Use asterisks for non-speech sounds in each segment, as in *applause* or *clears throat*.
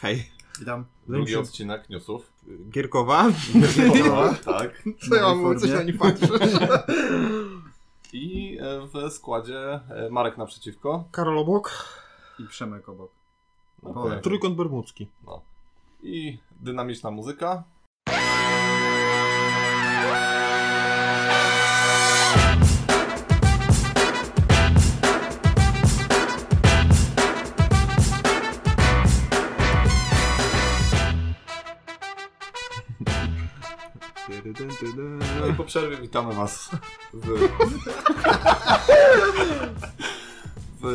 Hej. Witam. Drugi Lepszy. odcinek newsów. Gierkowa. Gierkowa, *laughs* tak. *laughs* Co ja mam Nowej mówić, coś na formie. nie patrzę. I e, w składzie e, Marek naprzeciwko. Karol obok. I Przemek obok. Okej. Trójkąt bermudzki. I dynamiczna muzyka. No i po przerwie witamy Was w... w...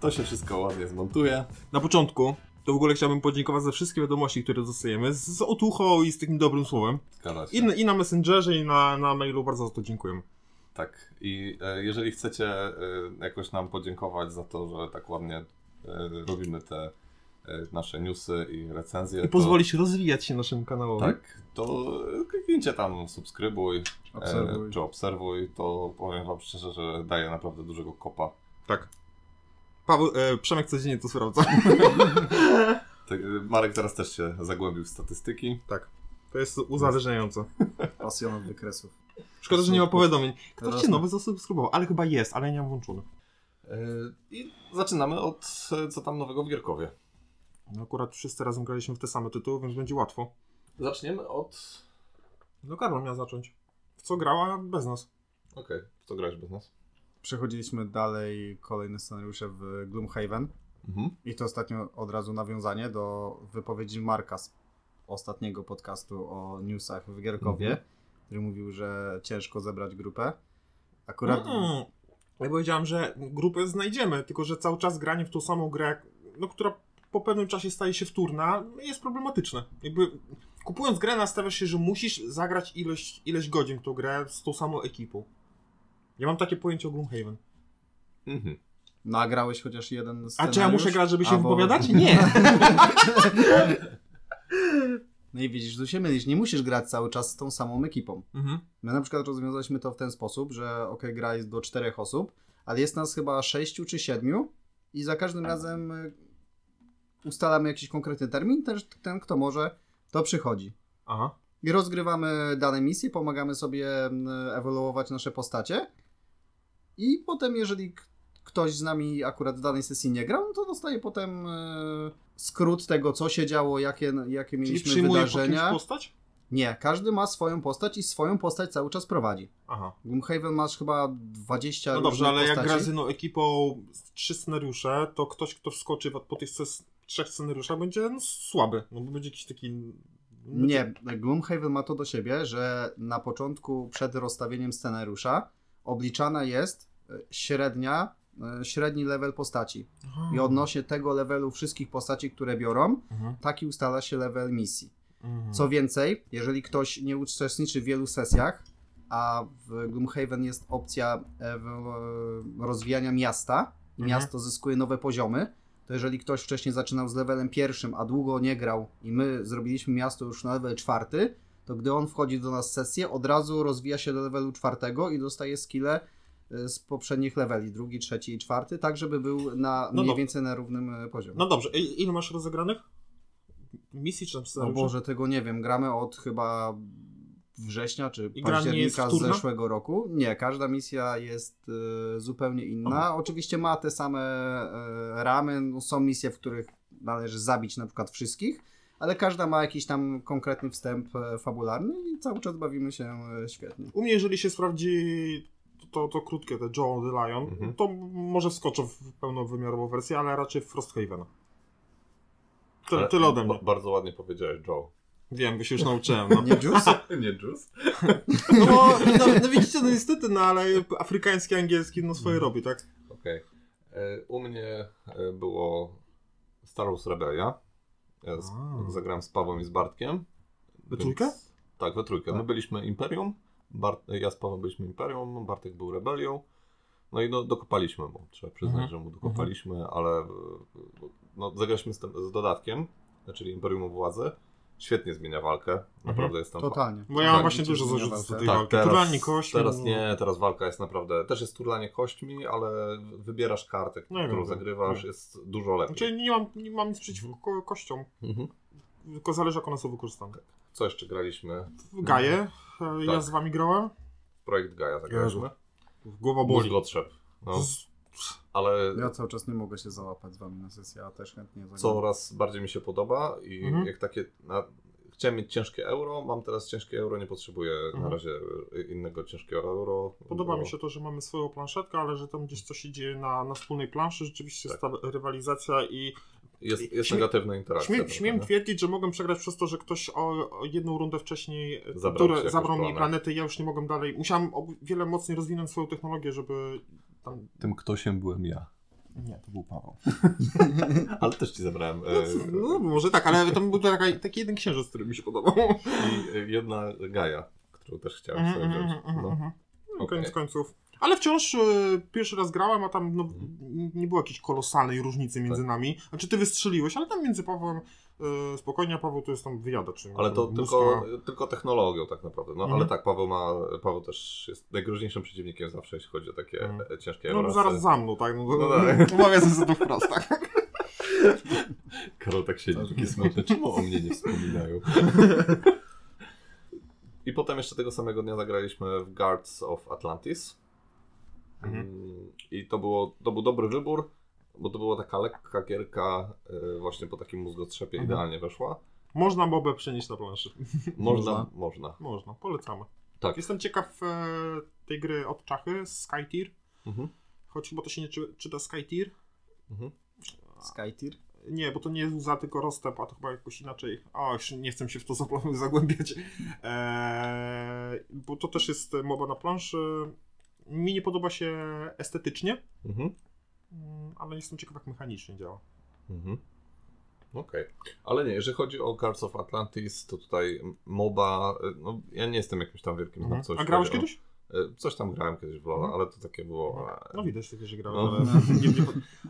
To się wszystko ładnie zmontuje. Na początku to w ogóle chciałbym podziękować za wszystkie wiadomości, które dostajemy z, z otuchą i z takim dobrym słowem. Zgadza się. I, na- i na Messengerze, i na, na mailu bardzo za to dziękuję. Tak. I e, jeżeli chcecie e, jakoś nam podziękować za to, że tak ładnie e, robimy te e, nasze newsy i recenzje. I pozwolić rozwijać się naszym kanałom. To, tak, to e, kliknijcie tam subskrybuj, Obserwuj. E, czy obserwuj. To powiem wam szczerze, że daje naprawdę dużego kopa. Tak. Paweł, e, Przemek codziennie to sprawdza. Tak, e, Marek teraz też się zagłębił w statystyki. Tak. To jest uzależniające. Pasjonat wykresów. Szkoda, że nie ma powiadomień. Ktoś Teraz cię nie. nowy zasubskrybował, ale chyba jest, ale ja nie mam włączony. E, I zaczynamy od e, co tam nowego w Gierkowie. No akurat wszyscy razem graliśmy w te same tytuły, więc będzie łatwo. Zaczniemy od... No Karol miał zacząć. W co grała bez nas. Okej, co grałeś bez nas? Przechodziliśmy dalej kolejne scenariusze w Gloomhaven. Mhm. I to ostatnio od razu nawiązanie do wypowiedzi Marka z ostatniego podcastu o newsach w Gierkowie, Mhm. który mówił, że ciężko zebrać grupę. Akurat Mm. Ja powiedziałam, że grupę znajdziemy, tylko że cały czas granie w tą samą grę, no, która po pewnym czasie staje się wtórna, jest problematyczne. Jakby kupując grę nastawiasz się, że musisz zagrać ileś, ileś godzin w tą grę z tą samą ekipą. Ja mam takie pojęcie o Gloomhaven. Mhm. nagrałeś chociaż jeden A scenariusz. czy ja muszę grać, żeby się albo- wypowiadać? *laughs* Nie! Mhm. No i widzisz, tu się mylisz. Nie musisz grać cały czas z tą samą ekipą. mhm. My na przykład rozwiązaliśmy to w ten sposób, że ok, gra jest do czterech osób, ale jest nas chyba sześciu czy siedmiu i za każdym Tak. razem y, ustalamy jakiś konkretny termin, też ten kto może, to przychodzi. Aha. I rozgrywamy dane misje, pomagamy sobie m, ewoluować nasze postacie i potem jeżeli k- ktoś z nami akurat w danej sesji nie grał, no to dostaje potem y, skrót tego, co się działo, jakie, jakie Czyli mieliśmy przyjmuję po kimś wydarzenia. postać? Nie, każdy ma swoją postać i swoją postać cały czas prowadzi. Aha. Gloomhaven masz chyba 20 No dobrze, różnych ale jak Tak, postaci. gra z jedną ekipą z trzy scenariusze, to ktoś, kto wskoczy w- po tych sces- trzech scenariuszach będzie no, słaby, no bo będzie jakiś taki... Nie, Gloomhaven ma to do siebie, że na początku przed rozstawieniem scenariusza obliczana jest e, średnia, e, średni level postaci. Aha. I odnośnie tego levelu wszystkich postaci, które biorą, Mhm. taki ustala się level misji. Mhm. Co więcej, jeżeli ktoś nie uczestniczy w wielu sesjach, a w Gloomhaven jest opcja e, w- rozwijania miasta, i Mhm. miasto zyskuje nowe poziomy, to jeżeli ktoś wcześniej zaczynał z levelem pierwszym, a długo nie grał i my zrobiliśmy miasto już na level czwarty, to gdy on wchodzi do nas w sesję, od razu rozwija się do levelu czwartego i dostaje skille e, z poprzednich leveli, drugi, trzeci i czwarty, tak żeby był na No mniej dobra. więcej na równym e, poziomie. No dobrze, I, ile masz rozegranych? Misji czy tam O scenariuszy? Boże, tego nie wiem. Gramy od chyba września czy I gra nie jest października wtórna? zeszłego roku. Nie, każda misja jest e, zupełnie inna. Oczywiście ma te same e, ramy. No, są misje, w których należy zabić na przykład wszystkich, ale każda ma jakiś tam konkretny wstęp e, fabularny i cały czas bawimy się e, świetnie. U mnie, jeżeli się sprawdzi to, to, to krótkie, te Joe the Lion, Mhm. to m- może wskoczę w pełnowymiarową wersję, ale raczej w Frosthavena. Ty, Ale Tyle ode mnie. ba- Bardzo ładnie powiedziałeś, Joe. Wiem, bo się już nauczyłem. No. *laughs* Nie Juice? *laughs* Nie Juice? No, bo, no, no widzicie, no niestety, no ale afrykański, angielski no swoje robi, tak? Okej. E, U mnie e, było Star Wars Rebelia. Ja z, A. zagrałem z Pawłem i z Bartkiem. We trójkę? Tak, we trójkę. My Tak. byliśmy Imperium, Bart, ja z Pawłem byliśmy Imperium, Bartek był Rebelią. No i no, dokopaliśmy mu. Trzeba przyznać, Mhm. że mu dokopaliśmy, ale e, no, zagraliśmy z, tym, z dodatkiem, czyli znaczy Imperium o Władzy. Świetnie zmienia walkę. Naprawdę jestem fa- Totalnie. Bo ja mam Tak, właśnie nic dużo nie zarzutów walczę. do tej Mhm. walki. Turlanie kośmi. Teraz no. nie, teraz walka jest naprawdę. Też jest turlanie kośćmi, ale wybierasz kartę, No nie którą wiem, zagrywasz, nie. jest dużo lepiej. Znaczy nie mam, nie mam nic przeciwko ko- kościom, Mhm. tylko zależy jak one są wykorzystane. Co jeszcze graliśmy? W Gaję, e, ja Mhm. Tak. z wami grałem, Projekt Gaja zagraliśmy. głowa Mózg boli. odszedł. No, Z- ale Ja cały czas nie mogę się załapać z wami na sesję, a też chętnie zagram. coraz bardziej mi się podoba i Mhm. jak takie. Na... Chciałem mieć ciężkie euro, mam teraz ciężkie euro, nie potrzebuję na Mhm. razie y, innego ciężkiego euro. Podoba bo- mi się to, że mamy swoją planszetkę, ale że tam gdzieś coś się dzieje na, na wspólnej planszy, rzeczywiście Tak. jest ta rywalizacja i Jest, jest Śmie- negatywna interakcja. Śmiem, trochę, śmiem nie? twierdzić, że mogłem przegrać przez to, że ktoś o, o jedną rundę wcześniej e, Zabrał ci które jakąś zabrał mi planetę. planetę i ja już nie mogłem dalej. Musiałem o wiele mocniej rozwinąć swoją technologię, żeby tam... Tym ktośem byłem ja. Nie. To był Paweł. *laughs* Ale też ci zabrałem. No, e, c- no może tak, ale tam był taka, taki jeden księżyc, który mi się podobał. I e, jedna Gaja, którą też chciałem Mhm, sobie mhm, wziąć. mhm, No. mhm. No, Okej. Koniec końców. Ale wciąż e, pierwszy raz grałem, a tam no, Mhm. nie było jakiejś kolosalnej różnicy Tak. między nami. Znaczy ty wystrzeliłeś, ale tam między Pawłem e, spokojnie, a Paweł to jest tam wyjadacz. no, Ale to Mózg tylko, ma- tylko technologią tak naprawdę. No Mhm. ale tak, Paweł ma, Paweł też jest najgroźniejszym przeciwnikiem zawsze, jeśli chodzi o takie Mhm. e, ciężkie No eurasy. zaraz za mną, tak? No, No no, tak. *laughs* Umawiam sobie to wprost, tak? Karol tak siedzi, taki smutny. Czemu o mnie nie wspominają? *laughs* I potem jeszcze tego samego dnia zagraliśmy w Guards of Atlantis. Mhm. Mm, I to, było, to był dobry wybór, bo to była taka lekka gierka, e, właśnie po takim mózgotrzepie Mhm. idealnie weszła. Można bobę przenieść na planszę. Można, Można. można. Można, polecamy. Tak. Jestem ciekaw e, tej gry od Czachy, Skytier, Mhm. choć bo to się nie czy, czyta Skytier. Mhm. Skytier? Nie, bo to nie jest łza, tylko rozstęp, a to chyba jakoś inaczej. O, już nie chcę się w to *laughs* zapla- zagłębiać. E, bo to też jest mowa na planszy. Mi nie podoba się estetycznie, Mhm. mm, ale jestem ciekaw jak mechanicznie działa. Mhm. Okej. Ale nie, jeżeli chodzi o Cards of Atlantis, to tutaj m- MOBA, y, no ja nie jestem jakimś tam wielkim Mhm. mhm. coś. E, A grałeś kiedyś? Coś tam grałem kiedyś w LoL'a, Mhm. ale to takie było... e, No widać, że grałeś, No. ale, nie, nie,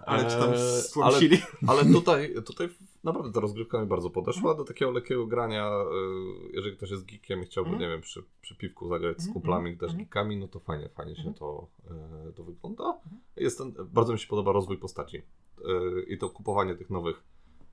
ale *laughs* czy tam Eee, stłamsili? Ale, ale tutaj, tutaj naprawdę ta rozgrywka mi bardzo podeszła do takiego lekkiego grania, y, jeżeli ktoś jest geekiem i chciałby, Mhm. nie wiem, przy, przy piwku zagrać z Mhm, kumplami, mhm, też mhm. geekami, no to fajnie, fajnie się Mhm. to, y, to wygląda. Jest ten, bardzo mi się podoba rozwój postaci y, i to kupowanie tych nowych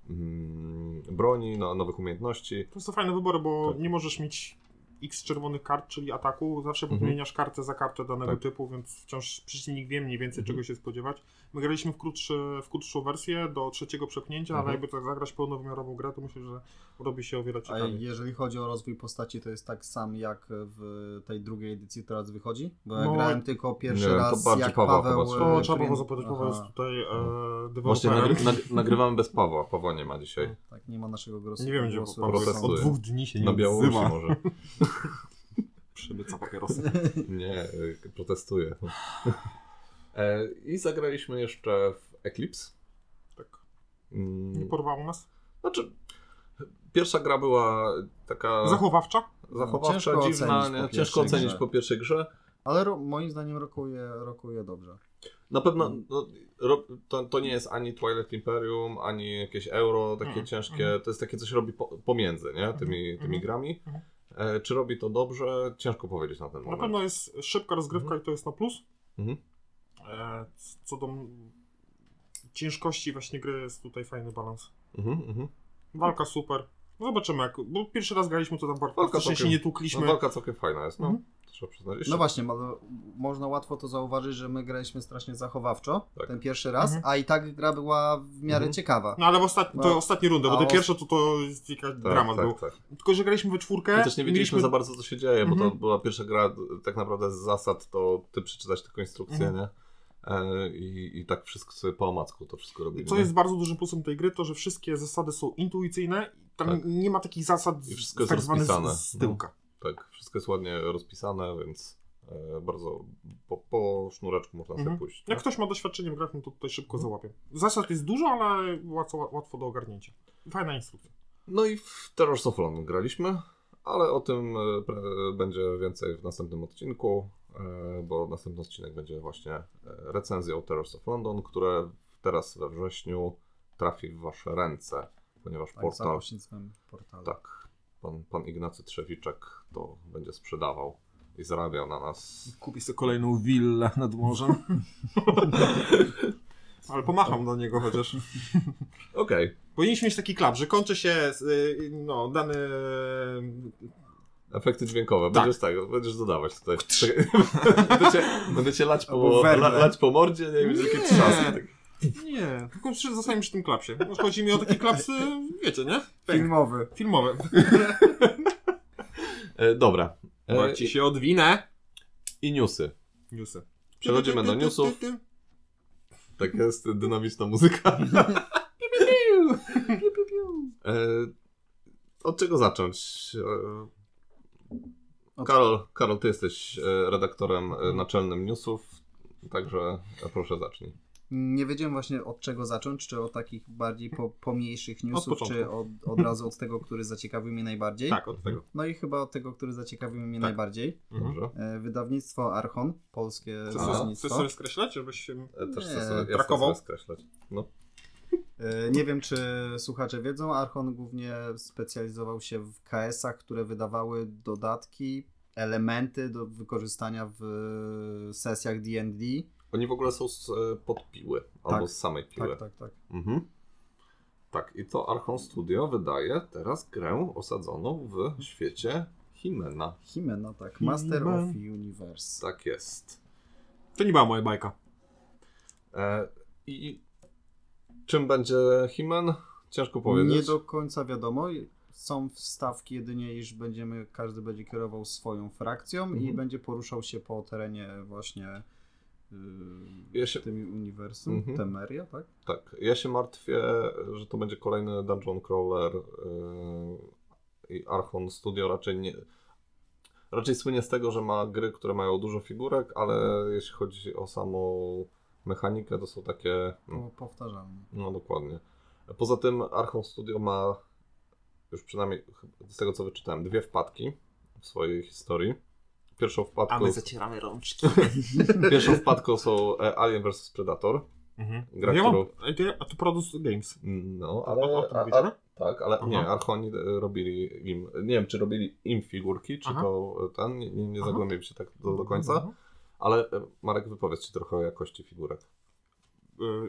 mm, broni, no, nowych umiejętności. To są fajne wybory, bo Tak. nie możesz mieć x czerwonych kart, czyli ataku. Zawsze Mhm. podmieniasz kartę za kartę danego Tak. typu, więc wciąż przeciwnik wie mniej więcej, Mhm. czego się spodziewać. My graliśmy w, krótszy, w krótszą wersję do trzeciego przepchnięcia, ale Mhm. jakby tak zagrać pełnowymiarową grę, to myślę, że robi się o wiele A ciekawiej. jeżeli chodzi o rozwój postaci, to jest tak sam jak w tej drugiej edycji, która teraz wychodzi? Bo ja No, grałem tylko pierwszy nie wiem, to raz, bardziej jak Paweł Paweł... chyba e, słyszał. To trzeba Prin- było zapytać, bo jest Aha, tutaj e, Mhm. Właśnie deweloperem. nagry, nag, nagrywamy bez Pawła, Pawła nie ma dzisiaj. Tak, nie ma naszego głosu. Nie wiem, gdzie głosu, po prostu. Od protestuje. dwóch dni się nie Na Białorusi odzywa. może. Przemyca papierosy. Nie, y, *laughs* protestuję. E, I zagraliśmy jeszcze w Eclipse. Tak. Mm, Nie porwało nas. Znaczy, pierwsza gra była taka Zachowawcza? zachowawcza, Ciężko ocenić dziwna, nie? po ciężko pierwszej ocenić grze. po pierwszej grze. Ale ro, moim zdaniem rokuje, rokuje dobrze. Na pewno Mm. no, ro, to, to nie jest ani Twilight Imperium, ani jakieś euro takie Mhm, ciężkie, mhm. to jest takie coś robi po, pomiędzy nie? tymi, tymi mhm, grami. mhm. E, czy robi to dobrze? Ciężko powiedzieć na ten Na moment. pewno jest szybka rozgrywka Mhm. i to jest na plus. Mhm. E, c- co do m- ciężkości właśnie gry jest tutaj fajny balans. Mhm, mhm. Walka super. No Zobaczymy jak, bo pierwszy raz graliśmy to tam bardzo Walka faktycznie całkiem- się nie No, tłukliśmy. walka całkiem fajna jest, no. Mhm. Trzeba przyznać. Jeszcze, No właśnie, mo- można łatwo to zauważyć, że my graliśmy strasznie zachowawczo Tak. ten pierwszy raz, Mhm. a i tak gra była w miarę Mhm. ciekawa. No ale w ostatni, to No. ostatnie rundy, bo A te os- pierwsze to to jest jakaś dramat był. tak. Tylko, że graliśmy we czwórkę. I też nie wiedzieliśmy za bardzo, co się dzieje, bo to E, Mhm. była pierwsza gra d- tak naprawdę z zasad, to ty przeczytać tylko instrukcję, Mhm. nie? E, I, I tak wszystko sobie po omacku to wszystko robimy. Co jest bardzo dużym plusem tej gry, to że wszystkie zasady są intuicyjne. Tam Tak. nie ma takich zasad I wszystko jest tak zwanych rozpisane. z, z tyłka. Tak, wszystko jest ładnie rozpisane, więc e, bardzo po, po sznureczku można Mhm. sobie pójść. Jak tak? ktoś ma doświadczenie w grach, no to tutaj szybko załapie. Zasad jest dużo, ale łatwo, łatwo do ogarnięcia. Fajna instrukcja. No i w Terrors of London graliśmy, ale o tym e, pre- będzie więcej w następnym odcinku, e, bo następny odcinek będzie właśnie e, recenzją Terrors of London, które teraz we wrześniu trafi w wasze ręce. ponieważ Tak, za portal. pośrednictwem portalu. Tak, pan, pan Ignacy Trzewiczek to będzie sprzedawał i zarabiał na nas. Kupi sobie kolejną willę nad morzem. *laughs* Ale pomacham do niego chociaż. Okej, Powinniśmy mieć taki klap, że kończy się y, no, dany... efekty dźwiękowe. Tak. Będziesz tak, będziesz dodawać tutaj. *laughs* będę, cię, będę cię lać po, Albo werwę. la, lać po mordzie, nie wiem, jakie Nie. trzaski. Tak. Nie, tylko przy- zostańmy przy tym klapsie. No, Chodzi mi o takie klapsy, wiecie, nie? Filmowy. Filmowe. E, dobra. Bo E, jak ci się odwinę... I newsy. Newsy. Przechodzimy do newsów. Tak jest dynamiczna *laughs* muzyka. E, od czego zacząć? E, Od- Karol, Karol, ty jesteś e, redaktorem e, naczelnym newsów, także e, proszę zacznij. Nie wiedziałem właśnie od czego zacząć, czy od takich bardziej po, pomniejszych newsów, początku. czy od, od razu od tego, który zaciekawił mnie najbardziej. Tak, od tego. No i chyba od tego, który zaciekawił mnie Tak. najbardziej. Mhm. Mhm. Dobrze? E, Wydawnictwo Archon, polskie Chcesz A. sobie- Chcesz wydawnictwo. sobie skreślać, żebyś się... E, Też Nie, chcę sobie, ja chcę brakował? sobie skreślać. No. E, Nie wiem, czy słuchacze wiedzą, Archon głównie specjalizował się w KS-ach, które wydawały dodatki, elementy do wykorzystania w e, sesjach D&D. Oni w ogóle są z, e, pod piły, albo z samej piły. Tak, tak, tak. Mhm. Tak, i to Archon Studio wydaje teraz grę osadzoną w świecie Himena. Himeno, tak. Master Himen. of Universe. Tak jest. To nie była moja bajka. E, I czym będzie Himen? Ciężko powiedzieć. Nie do końca wiadomo. Są wstawki jedynie, iż będziemy, każdy będzie kierował swoją frakcją i Mhm. będzie poruszał się po terenie właśnie yy, Ja się- tym uniwersum, Mhm. Temeria, tak? Tak, ja się martwię, że to będzie kolejny Dungeon Crawler yy, i Archon Studio raczej nie... Raczej słynie z tego, że ma gry, które mają dużo figurek, ale Mhm. jeśli chodzi o samą mechanikę, to są takie... Po, powtarzalnie. No dokładnie. Poza tym Archon Studio ma już przynajmniej ch- z tego co wyczytałem, dwie wpadki w swojej historii. Pierwszą wpadką, zacieramy rączki. *laughs* *laughs* pierwszą wpadką są e, Alien vs Predator. *laughs* Mhm. Gra, ja mam, którą- a to ja- a to Produce Games. No, O- o ale. tym a- wiedziałem? a- tak, ale Aha. nie, Archoni e, robili im. Nie wiem, czy robili im figurki, czy Aha. to e, ten. Nie, nie Aha. Mhm. zagłębiłem się tak do, do końca. Ale e, Marek, wypowiedz ci trochę o jakości figurek.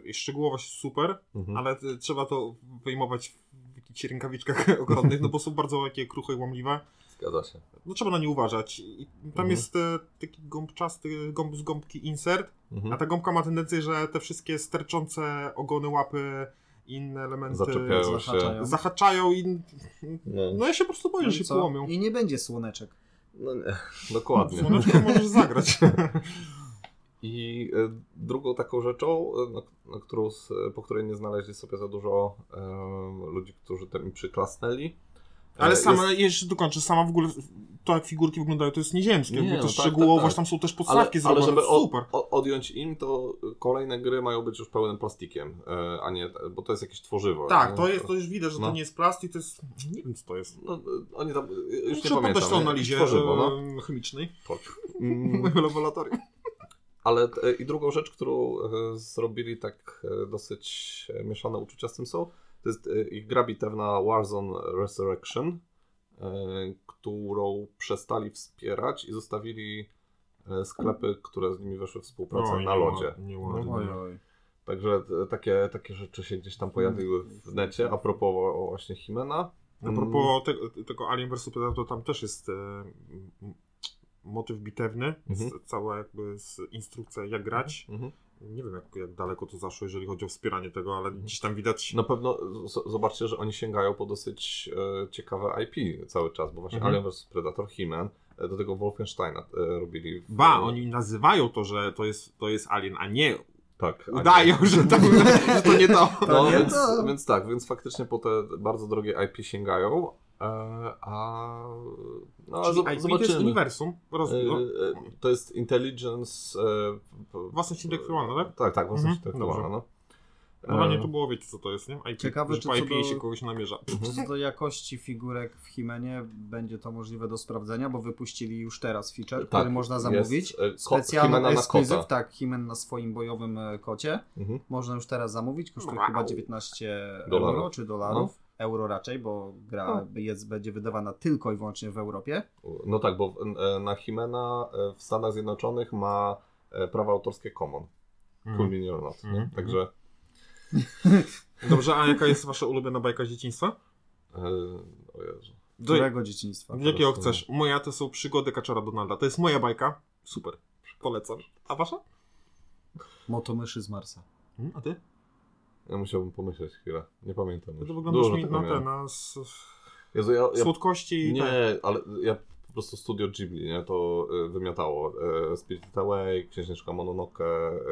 Y, Szczegółowość super, Mhm. ale y, trzeba to wyjmować w jakichś rękawiczkach *laughs* ogrodnych, no bo są bardzo takie kruche i łamliwe. Zgadza się. No trzeba na nie uważać. I tam Mhm. jest e, taki gąbczasty, gąb z gąbki insert, a Mhm. ta gąbka ma tendencję, że te wszystkie sterczące ogony, łapy i inne elementy Zaczepiają się. zahaczają. zahaczają i... No, No ja się po prostu boję, No że się i co? połomią. I nie będzie słoneczek. no nie. Dokładnie. Słoneczko możesz zagrać. *laughs* I e, drugą taką rzeczą, e, na, na którą, s- e, po której nie znaleźli sobie za dużo e, ludzi, którzy tam im przyklasnęli. E, Ale jest- sama, jeszcze dokończę, sama w ogóle to jak figurki wyglądają to jest nieziemskie, bo Nie, no to tak, szczegółowość, tak, tak. tam są też podstawki zrobione, żeby o- super. O, odjąć im, to kolejne gry mają być już pełnym plastikiem, e, a nie, bo to jest jakieś tworzywo. Tak, nie? to jest, to już widać, że No. to nie jest plastik, to jest, nie wiem co to jest. No, e, oni tam, e, już nie Muszę pamiętam. poddać to nie? analizie Tworzywo, no. em, chemicznej w Mm, moim laboratorium. Ale e, i drugą rzecz, którą e, zrobili tak e, dosyć e, mieszane uczucia z tym są, to jest e, ich gra bitewna Warzone Resurrection, e, którą przestali wspierać i zostawili e, sklepy, które z nimi weszły w współpracę No, na lodzie. No, Oj, Mhm. oj. Także e, takie, takie rzeczy się gdzieś tam pojawiły w necie a propos o- właśnie Himena. A propos Mm. tego, tego Alien vs. Predator, to tam też jest e, m- m- motyw bitewny, Mhm. z, cała jakby z instrukcja jak grać. Mhm. Nie wiem jak, jak daleko to zaszło, jeżeli chodzi o wspieranie tego, ale Mhm. gdzieś tam widać... Na pewno z- zobaczcie, że oni sięgają po dosyć e, ciekawe IP cały czas, bo właśnie Mhm. Alien vs. Predator, He-Man, e, do tego Wolfensteina e, robili. w- Ba, oni nazywają to, że to jest, to jest Alien, a nie tak, a udają, nie- że to, że to nie to. *laughs* No, To nie więc, to. więc tak, więc faktycznie po te bardzo drogie IP sięgają, e, a no, ale Czyli zo- IP to jest zobaczymy. uniwersum, E, rozumiem. no. e, To jest Intelligence... e, p- Własność intelektualna, tak? Tak, tak, własność Mhm, intelektualna, no. Normalnie E, to było, wiecie co to jest, nie? IP, Ciekawe, że czy po co IP do- się kogoś namierza. Co do jakości figurek w Himenie będzie to możliwe do sprawdzenia, bo wypuścili już teraz feature, Tak, który można zamówić. Jest, e, ko- Himena Specjalny na ekskluzyw, kota. tak, Himen na swoim bojowym e, kocie. Mhm. Można już teraz zamówić, kosztuje Wow. chyba 19 Dolarów. No. euro czy dolarów. euro raczej, bo gra jest, będzie wydawana tylko i wyłącznie w Europie. No tak, bo e, na Himena w Stanach Zjednoczonych ma e, prawa autorskie Common. Mm. Cool Minion Not, nie? Mhm. Także Dobrze, a jaka jest wasza ulubiona bajka z dzieciństwa? e, o Jezu. Do, Którego dzieciństwa? jakiego teraz, chcesz? Moja to są przygody Kaczora Donalda. To jest moja bajka. Super. Polecam. A wasza? Motomyszy z Marsa. Hmm, A ty? Ja musiałbym pomyśleć chwilę. Nie pamiętam. To już. wyglądasz Dużo mi tego na te, miałem. na s- Jezu, ja, ja słodkości i tak. Nie, ale ja po prostu studio Ghibli, nie? To y, wymiatało. E, Spirit Away, Księżniczka Mononoke,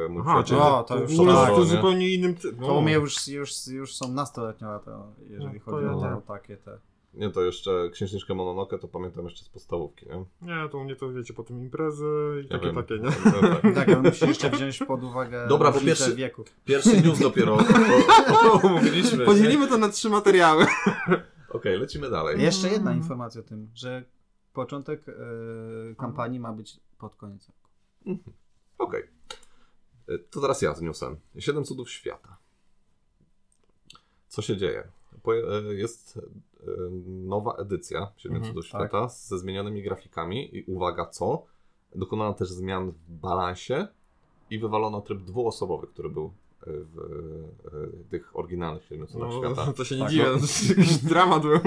e, Mój Aha, czyli Przyjaciel. O, to to już już to, tak. zupełnie innym... Ty- To u mnie już, już, już są nastoletnie lata, jeżeli No, to chodzi ja o nie. o takie te. Nie, to jeszcze Księżniczkę Mononoke to pamiętam jeszcze z podstawówki, nie? Nie, to u mnie to wiecie, potem imprezy i Ja takie, wiem. takie, nie? No, tak. Tak, ale musisz jeszcze wziąć pod uwagę *laughs* Dobra, bo różnicę pierwszy- wieku. Pierwszy news dopiero o- o- *laughs* omówiliśmy. Okej, to na trzy materiały. lecimy dalej. Jeszcze jedna informacja o tym, że początek e, kampanii ma być pod koniec roku. Okej. E, To teraz ja z newsem. Siedem cudów świata. Co się dzieje? Poje- e, Jest e, nowa edycja Siedmiu Mhm, Cudów tak. Świata ze zmienionymi grafikami i uwaga co? Dokonano też zmian w balansie i wywalono tryb dwuosobowy, który był e, w e, tych oryginalnych Siedmiu Cudach Świata. *laughs* No, to się nie Tak, dziwię, no. to jakiś dramat był.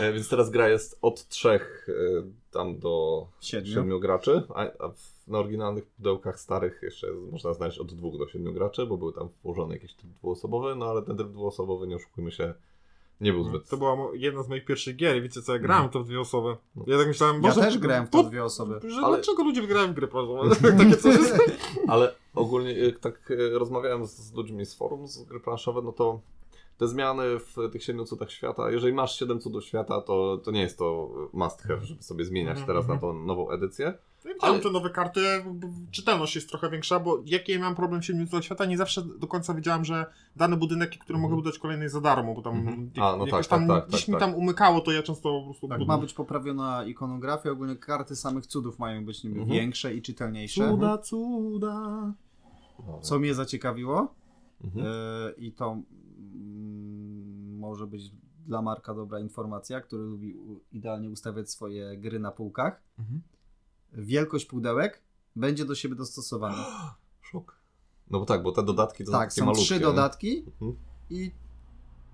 E, Więc teraz gra jest od trzech e, tam do Siedmiu. siedmiu graczy, a, a w, na oryginalnych pudełkach starych jeszcze jest- można znaleźć od dwóch do siedmiu graczy, bo był tam włożony jakiś tryb dwuosobowy, no ale ten tryb dwuosobowy, nie oszukujmy się, nie był zbyt... To była mo- jedna z moich pierwszych gier i wiecie co, ja grałem to w dwie osoby. No. Ja tak myślałem, Ja może... też grałem w to dwie osoby. Że Ale- Dlaczego ludzie grają w gry, *laughs* proszę? *laughs* Tak, Takie *laughs* coś jest... Ale ogólnie jak tak e, rozmawiałem z, z ludźmi z forum, z gry planszowe, no to te zmiany w tych siedmiu cudach świata, jeżeli masz siedem cudów świata, to, to nie jest to must have, żeby sobie zmieniać Mhm, teraz na mhm. tą nową edycję. Ja Ale- Ale... te nowe karty, b- b- czytelność jest trochę większa, bo jaki ja miałem problem z Siedmiu Cudów Świata, nie zawsze do końca wiedziałem, że dany budynek, który mogę Mhm. budować kolejny jest za darmo, bo tam Mhm. jak- A, no jakoś tak, tam tak, tak, gdzieś tak, mi tak. tam umykało, to ja często po prostu... Mhm. Tak, ma być poprawiona ikonografia, ogólnie karty samych cudów mają być niby Mhm. większe i czytelniejsze. Cuda, cuda... Co mnie zaciekawiło No, Mhm. e, i to mm, może być dla Marka dobra informacja, który lubi u- idealnie ustawiać swoje gry na półkach. Mhm. Wielkość pudełek będzie do siebie dostosowana. *gasps* Szok. No bo tak, bo te dodatki to tak, takie są malutkie, trzy nie? dodatki Mhm. i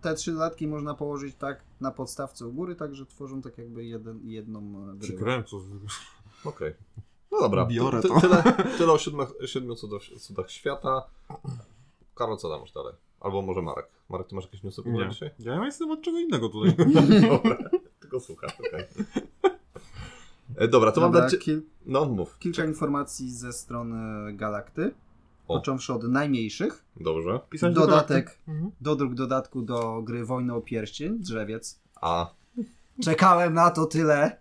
te trzy dodatki można położyć tak na podstawce u góry, także tworzą tak jakby jeden, jedną e, grę. Przykręców. Okej. No dobra. Biorę Ty- to. Tyle, tyle o siódmych, siedmiu cudach, cudach świata. Karol, co tam masz dalej? Albo może Marek. Marek, ty masz jakieś newsy w ogóle Nie. *laughs* dzisiaj? Ja jestem od czego innego tutaj. *laughs* Dobra, tylko słucham. okej. E, Dobra, to Tak. Dobra, mam dać... kil- No, mów. kilka informacji ze strony Galakty, O. począwszy od najmniejszych. Dobrze. Pisać do Dodatek, karty. Mhm. dodruk dodatku do gry Wojny o Pierścień, drzewiec. A, Czekałem na to *laughs* tyle.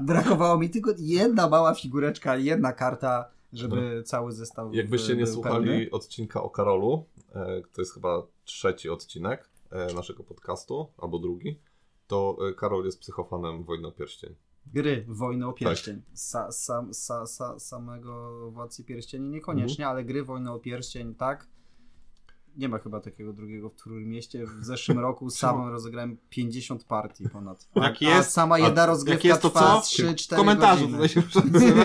Brakowało mi tylko jedna mała figureczka, jedna karta, żeby cały zestaw jakbyście Yy, e, nie był słuchali pełny. odcinka o Karolu, e, to jest chyba trzeci odcinek e, naszego podcastu, albo drugi, to e, Karol jest psychofanem Wojny o Pierścień. Gry Wojny Tak. o Pierścień. Sa, sam, sa, sa, samego Władcy Pierścieni niekoniecznie, Mhm. ale gry Wojny o Pierścień, tak. Nie ma chyba takiego drugiego w Trójmieście. W zeszłym roku *laughs* samym rozegrałem 50 partii ponad. A, Jak jest- a sama Tak a jedna rozgrywka jak jest, to trwa co? 3-4 komentarzu godziny. tutaj się przesyła.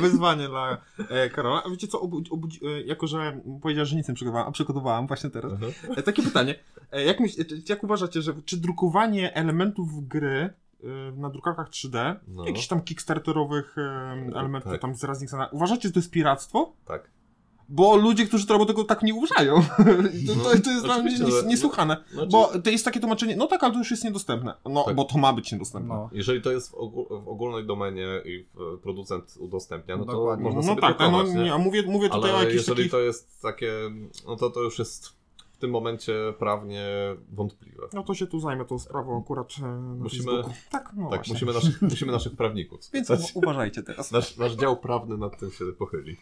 Wyzwanie dla e, Karola. A wiecie co, obudzi, obudzi, e, jako że powiedział, że nic nie przygotowałem, a przygotowałem właśnie teraz. Mhm. E, takie pytanie. E, jak, myśl, e, czy- jak uważacie, że czy drukowanie elementów gry e, na drukarkach 3D, No. jakichś tam kickstarterowych e, elementów Tak. tam z raznych stron, uważacie, że to jest piractwo? Tak. Bo ludzie, którzy to robią, tego tak nie uważają. *laughs* to, to, to jest dla mnie Oczywiście, nies- że- niesłuchane. No, Bo to jest takie tłumaczenie, no tak, ale to już jest niedostępne. No, Tak. bo to ma być niedostępne. No. Jeżeli to jest w, ogó- w ogólnej domenie i w- producent udostępnia, no to Dokładnie. można No sobie tak, tak, no, drukować, nie? nie, a mówię, mówię tutaj o Ale jakichś jeżeli takich... to jest takie, no to to już jest w tym momencie prawnie wątpliwe. No to się tu zajmę tą sprawą akurat e, na Musimy- Facebooku. Tak, no tak, właśnie. musimy naszych, *laughs* musimy naszych prawników Więc spytać. u- uważajcie teraz. Nasz, nasz dział prawny nad tym się pochyli.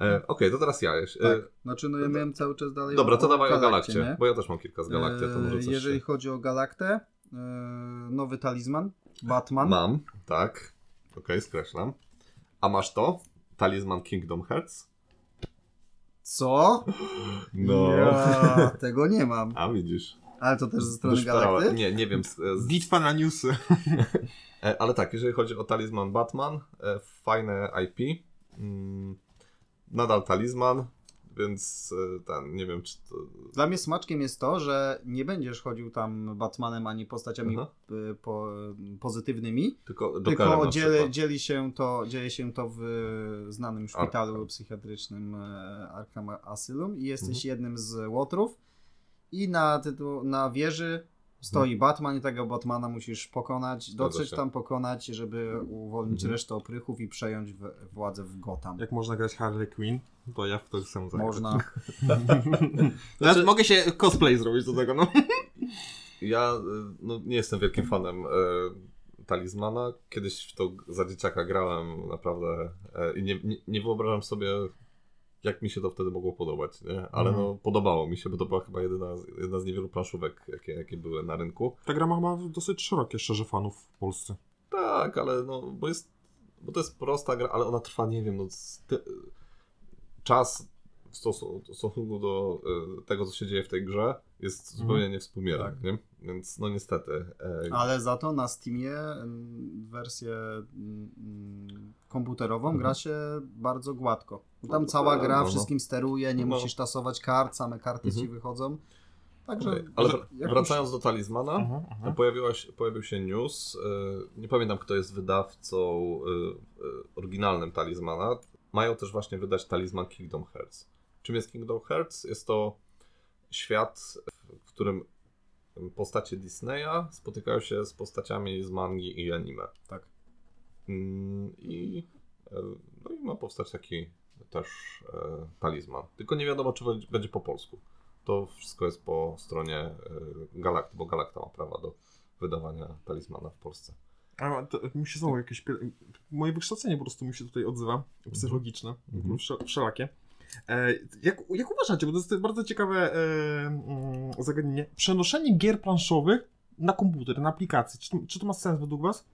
E, Okej, to teraz ja. jeś- E, Tak. Znaczy, no ja miałem cały czas dalej. dobra, o- to o dawaj o galakcie, nie? bo ja też mam kilka z galakty, to może E, coś Jeżeli chodzi o Galaktę, e, nowy talizman, Batman. Mam, tak. Okej, skreślam. A masz to? Talizman Kingdom Hearts? Co? No. Ja tego nie mam. A widzisz. Ale to też ze strony Wyszperałem. Galakty. Nie, nie wiem. Z, z, Bitwa na newsy. E, Ale tak, jeżeli chodzi o talizman Batman, e, fajne IP. mm, Nadal talizman, więc e, ten, nie wiem czy to. Dla mnie smaczkiem jest to, że nie będziesz chodził tam Batmanem ani postaciami Aha. y, po, pozytywnymi, Tylko Jokerem tylko na dzieli, przykład. dzieli się to, dzieje się to w znanym szpitalu Arkham. psychiatrycznym e, Arkham Asylum i jesteś Mhm. jednym z łotrów i na, tytuł, na Mhm. wieży stoi Batman i tego Batmana musisz pokonać, dotrzeć się. tam, pokonać, żeby uwolnić Mhm. resztę oprychów i przejąć w, władzę w Gotham. Jak można grać Harley Quinn, to ja w to chcę zagrać. Można. Znaczy... Mogę się cosplay zrobić do tego, no. Ja e, no, nie jestem wielkim fanem e, talizmana. Kiedyś w to g- za dzieciaka grałem naprawdę e, i nie, nie, nie wyobrażam sobie, jak mi się to wtedy mogło podobać, nie? Ale Mhm. no, podobało mi się, bo to była chyba jedyna, z- jedna z niewielu planszówek, jakie, jakie były na rynku. Ta gra ma chyba dosyć szerokie szczerze fanów w Polsce. Tak, ale no, bo jest, bo to jest prosta gra, ale ona trwa, nie wiem, no, z ty... czas w stosu- w stosunku do e, tego, co się dzieje w tej grze, jest zupełnie niewspółmierny, Mhm. Tak. nie? Więc no niestety. E, Ale za to na Steamie mm, wersję mm, komputerową Mhm. gra się bardzo gładko. No Tam to cała tak, gra no, no. wszystkim steruje, nie No. musisz tasować kart, same karty Mhm. ci wychodzą. Także okej, Ale że- wr- jak wracając do talizmana, Mhm, mhm. Pojawiła się, No, pojawił się news, e, nie pamiętam kto jest wydawcą e, e, oryginalnym talizmana. Mają też właśnie wydać talizman Kingdom Hearts. Czym jest Kingdom Hearts? Jest to świat, w którym postacie Disneya spotykają się z postaciami z mangi i anime. Tak. Mm, I, e, no i ma powstać taki też e, talizman. Tylko nie wiadomo, czy będzie- będzie po polsku. To wszystko jest po stronie e, Galakty, bo Galakta ma prawa do wydawania talizmana w Polsce. A, to, mi się znowu jakieś... pier- Moje wykształcenie po prostu mi się tutaj odzywa, psychologiczne, Mhm. wsze, wszelakie. E, jak, jak uważacie, bo to jest bardzo ciekawe e, mm, zagadnienie, przenoszenie gier planszowych na komputer, na aplikację, czy to, czy to ma sens według was?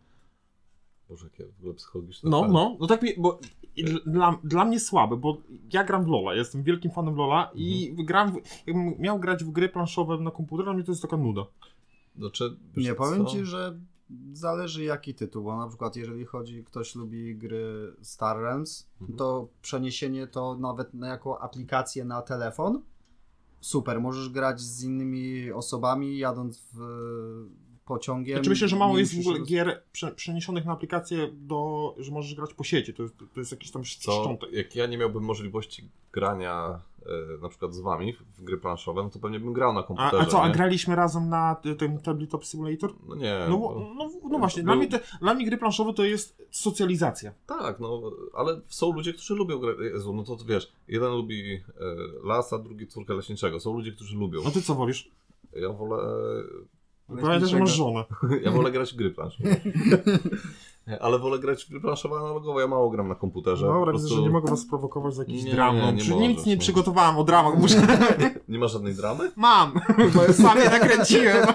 Boże, jakie w ogóle psychologiczne. No, pytanie. no, no tak mi, bo i dl- dla, dla mnie słabe, bo ja gram w Lola, jestem wielkim fanem Lola i gram, w, jakbym miał grać w gry planszowe na komputerze, dla mnie to jest taka nuda. Znaczy, wiesz Nie powiem co? ci, że zależy jaki tytuł, bo na przykład jeżeli chodzi, ktoś lubi gry Star Realms, Mhm. to przeniesienie to nawet na jako aplikację na telefon, super, możesz grać z innymi osobami jadąc w pociągiem. Znaczy myślę, że mało nie jest w musisz ogóle roz- gier prze, przeniesionych na aplikację do, że możesz grać po sieci, to jest, to jest jakiś tam Co, szczątek. jak ja nie miałbym możliwości grania e, na przykład z wami w- w gry planszowe, no to pewnie bym grał na A, komputerze. a co, a nie? graliśmy razem na t- tym Tabletop Simulator? No nie. No, bo- bo- no, no właśnie, Był- dla, mnie te, dla mnie gry planszowe to jest socjalizacja. Tak, no, ale są ludzie, którzy lubią grę. Jezu, no to wiesz, jeden lubi e, lasa, drugi córkę leśniczego. Są ludzie, którzy lubią. No ty co wolisz? Ja wolę, e, Pamiętaj, że masz żonę. ja wolę grać w gry planszowe. *laughs* Nie, Ale wolę grać w gry planszowe analogowe. Ja mało gram na komputerze. Dobra, Po widzę, że nie mogę was sprowokować za jakiś Nie, dram. nie, No, nie przy- możesz, nic nie no. przygotowałem o dramach, muszę... nie ma żadnej dramy? *laughs* Mam, bo sam je nakręciłem.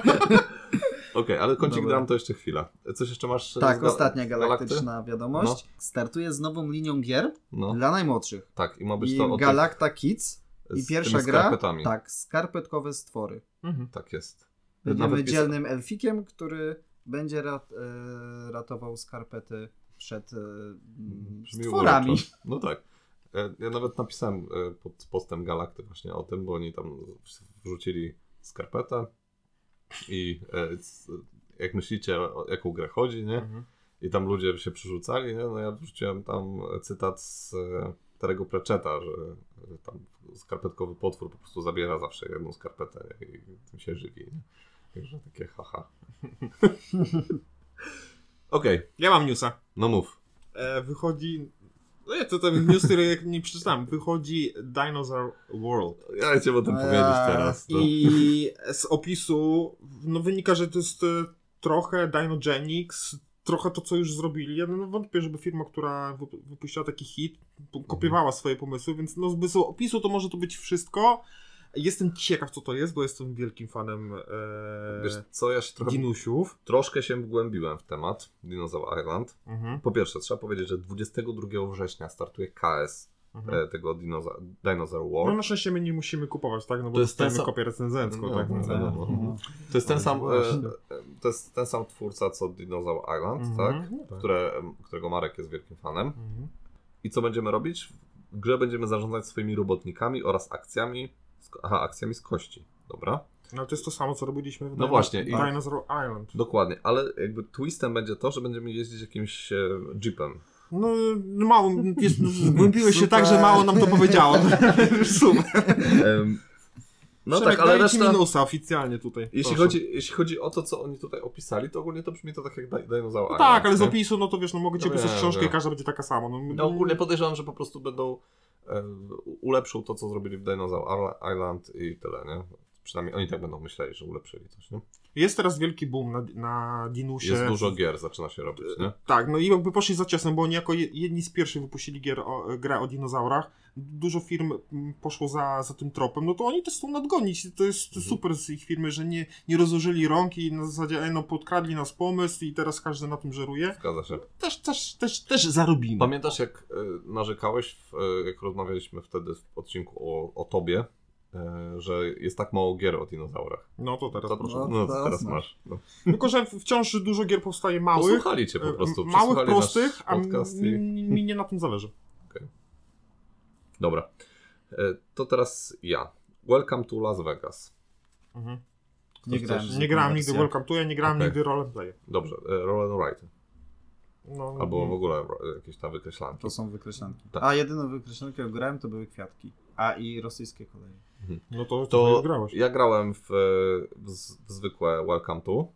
Okej, ale kącik Dobra. dram to jeszcze chwila. Coś jeszcze masz? z Tak, ga- ostatnia z Galakty? galaktyczna wiadomość. Startuje z nową linią gier No, dla najmłodszych. tak, i ma być I to o tych- Galacta Kids i z pierwsza tymi gra, skarpetami. tak, skarpetkowe stwory. Mhm. Tak jest. Będziemy Nawet pisa- dzielnym elfikiem, który będzie rat, e, ratował skarpety przed e, m, Brzmi stworami. *laughs* uroczo. No tak. E, Ja nawet napisałem e, pod postem Galakty właśnie o tym, bo oni tam wrzucili skarpetę i e, c- jak myślicie, o jaką grę chodzi, nie? Mhm. I tam ludzie się przerzucali, nie? No ja wrzuciłem tam cytat z e, Terego Preczeta, że że tam skarpetkowy potwór po prostu zabiera zawsze jedną skarpetę nie? i tym się żywi, nie? Także takie haha. *laughs* Okej, Ja mam newsa. no mów. E, wychodzi... No ja to tam news, który jak nie przeczytam. Wychodzi Dinosaur World. Ja cię o tym A, powiedzieć teraz. No. I z opisu no, wynika, że to jest e, trochę Dinogenics, trochę to, co już zrobili. Ja no, wątpię, żeby firma, która wyp- wypuściła taki hit, p- kopiowała Mhm. swoje pomysły, więc no, z opisu to może to być wszystko. Jestem ciekaw, co to jest, bo jestem wielkim fanem Wiesz e, co, ja się trochę, dinusiów. no. troszkę się wgłębiłem w temat Dinosaur Island. Mhm. Po pierwsze, trzeba powiedzieć, że 22 września startuje KS e, tego Dinoza- Dinosaur Mhm. No War. na szczęście my nie musimy kupować, tak? No bo To jest ten dostajemy sam- kopię recenzencką, No, tak? no, naprawdę. no, no. To jest ten Ale sam, e, właśnie. e, to jest ten sam twórca co Dinosaur Island, Mhm. tak? No tak. Które, którego Marek jest wielkim fanem. Mhm. I co będziemy robić? W grze będziemy zarządzać swoimi robotnikami oraz akcjami. z ko- Aha, akcjami z kości. Dobra. No to jest to samo, co robiliśmy w No właśnie, i- Dinosaur Island. Dokładnie, ale jakby twistem będzie to, że będziemy jeździć jakimś e, jeepem. No mało, jest, głębiłeś się tak, że mało nam to *laughs* powiedziało. Super. Em, no Przemek, tak, ale daję ci reszta. minusa oficjalnie tutaj. Jeśli Proszę. chodzi, jeśli chodzi o to, co oni tutaj opisali, to ogólnie to brzmi to tak jak Daj- Dinozaur No Island. tak, ale z nie? opisu, no to wiesz, no mogę ci No opisać wiem, książkę i wiem. każda będzie taka sama. No, No ogólnie podejrzewam, że po prostu będą e, u- ulepszą to, co zrobili w Dinozaur Island i tyle, nie? Przynajmniej oni tak będą myśleli, że ulepszyli coś, nie? Jest teraz wielki boom na, na Dinusie. Jest dużo gier, zaczyna się robić, nie? Tak, no i jakby poszli za ciasem, bo oni jako je- jedni z pierwszych wypuścili gier o, grę o dinozaurach. Dużo firm mm, poszło za, za tym tropem, no to oni też chcą nadgonić. To jest Mhm. super z ich firmy, że nie, nie rozłożyli rąk i na zasadzie, "Ej, no podkradli nas pomysł i teraz każdy na tym żeruje. Zgadza się. Też, też, też, też zarobimy. Pamiętasz, jak e, narzekałeś, w, e, jak rozmawialiśmy wtedy w odcinku o, o tobie, e, że jest tak mało gier o dinozaurach. no to teraz To proszę. proszę, No, no, teraz teraz masz. masz. No. Tylko, że wciąż dużo gier powstaje małych, Posłuchali cię po prostu. e, małych przesłuchali nasz prostych, a mi, podcast i... mi nie na tym zależy. Dobra. E, To teraz ja. Welcome to Las Vegas. Mhm. Nie grałem. chcesz? w Nie grałem taką nigdy wersję. Welcome to, ja nie grałem Okej. nigdy Roleplay. Dobrze, e, roll and write. No, Albo w ogóle ro- jakieś tam wykreślanki. To są wykreślanki. Tak. A jedyną wykreślanką, jaką grałem, to były kwiatki. A i rosyjskie koleje. no to, to, To już grałeś. ja grałem w, e, w, z- w zwykłe Welcome to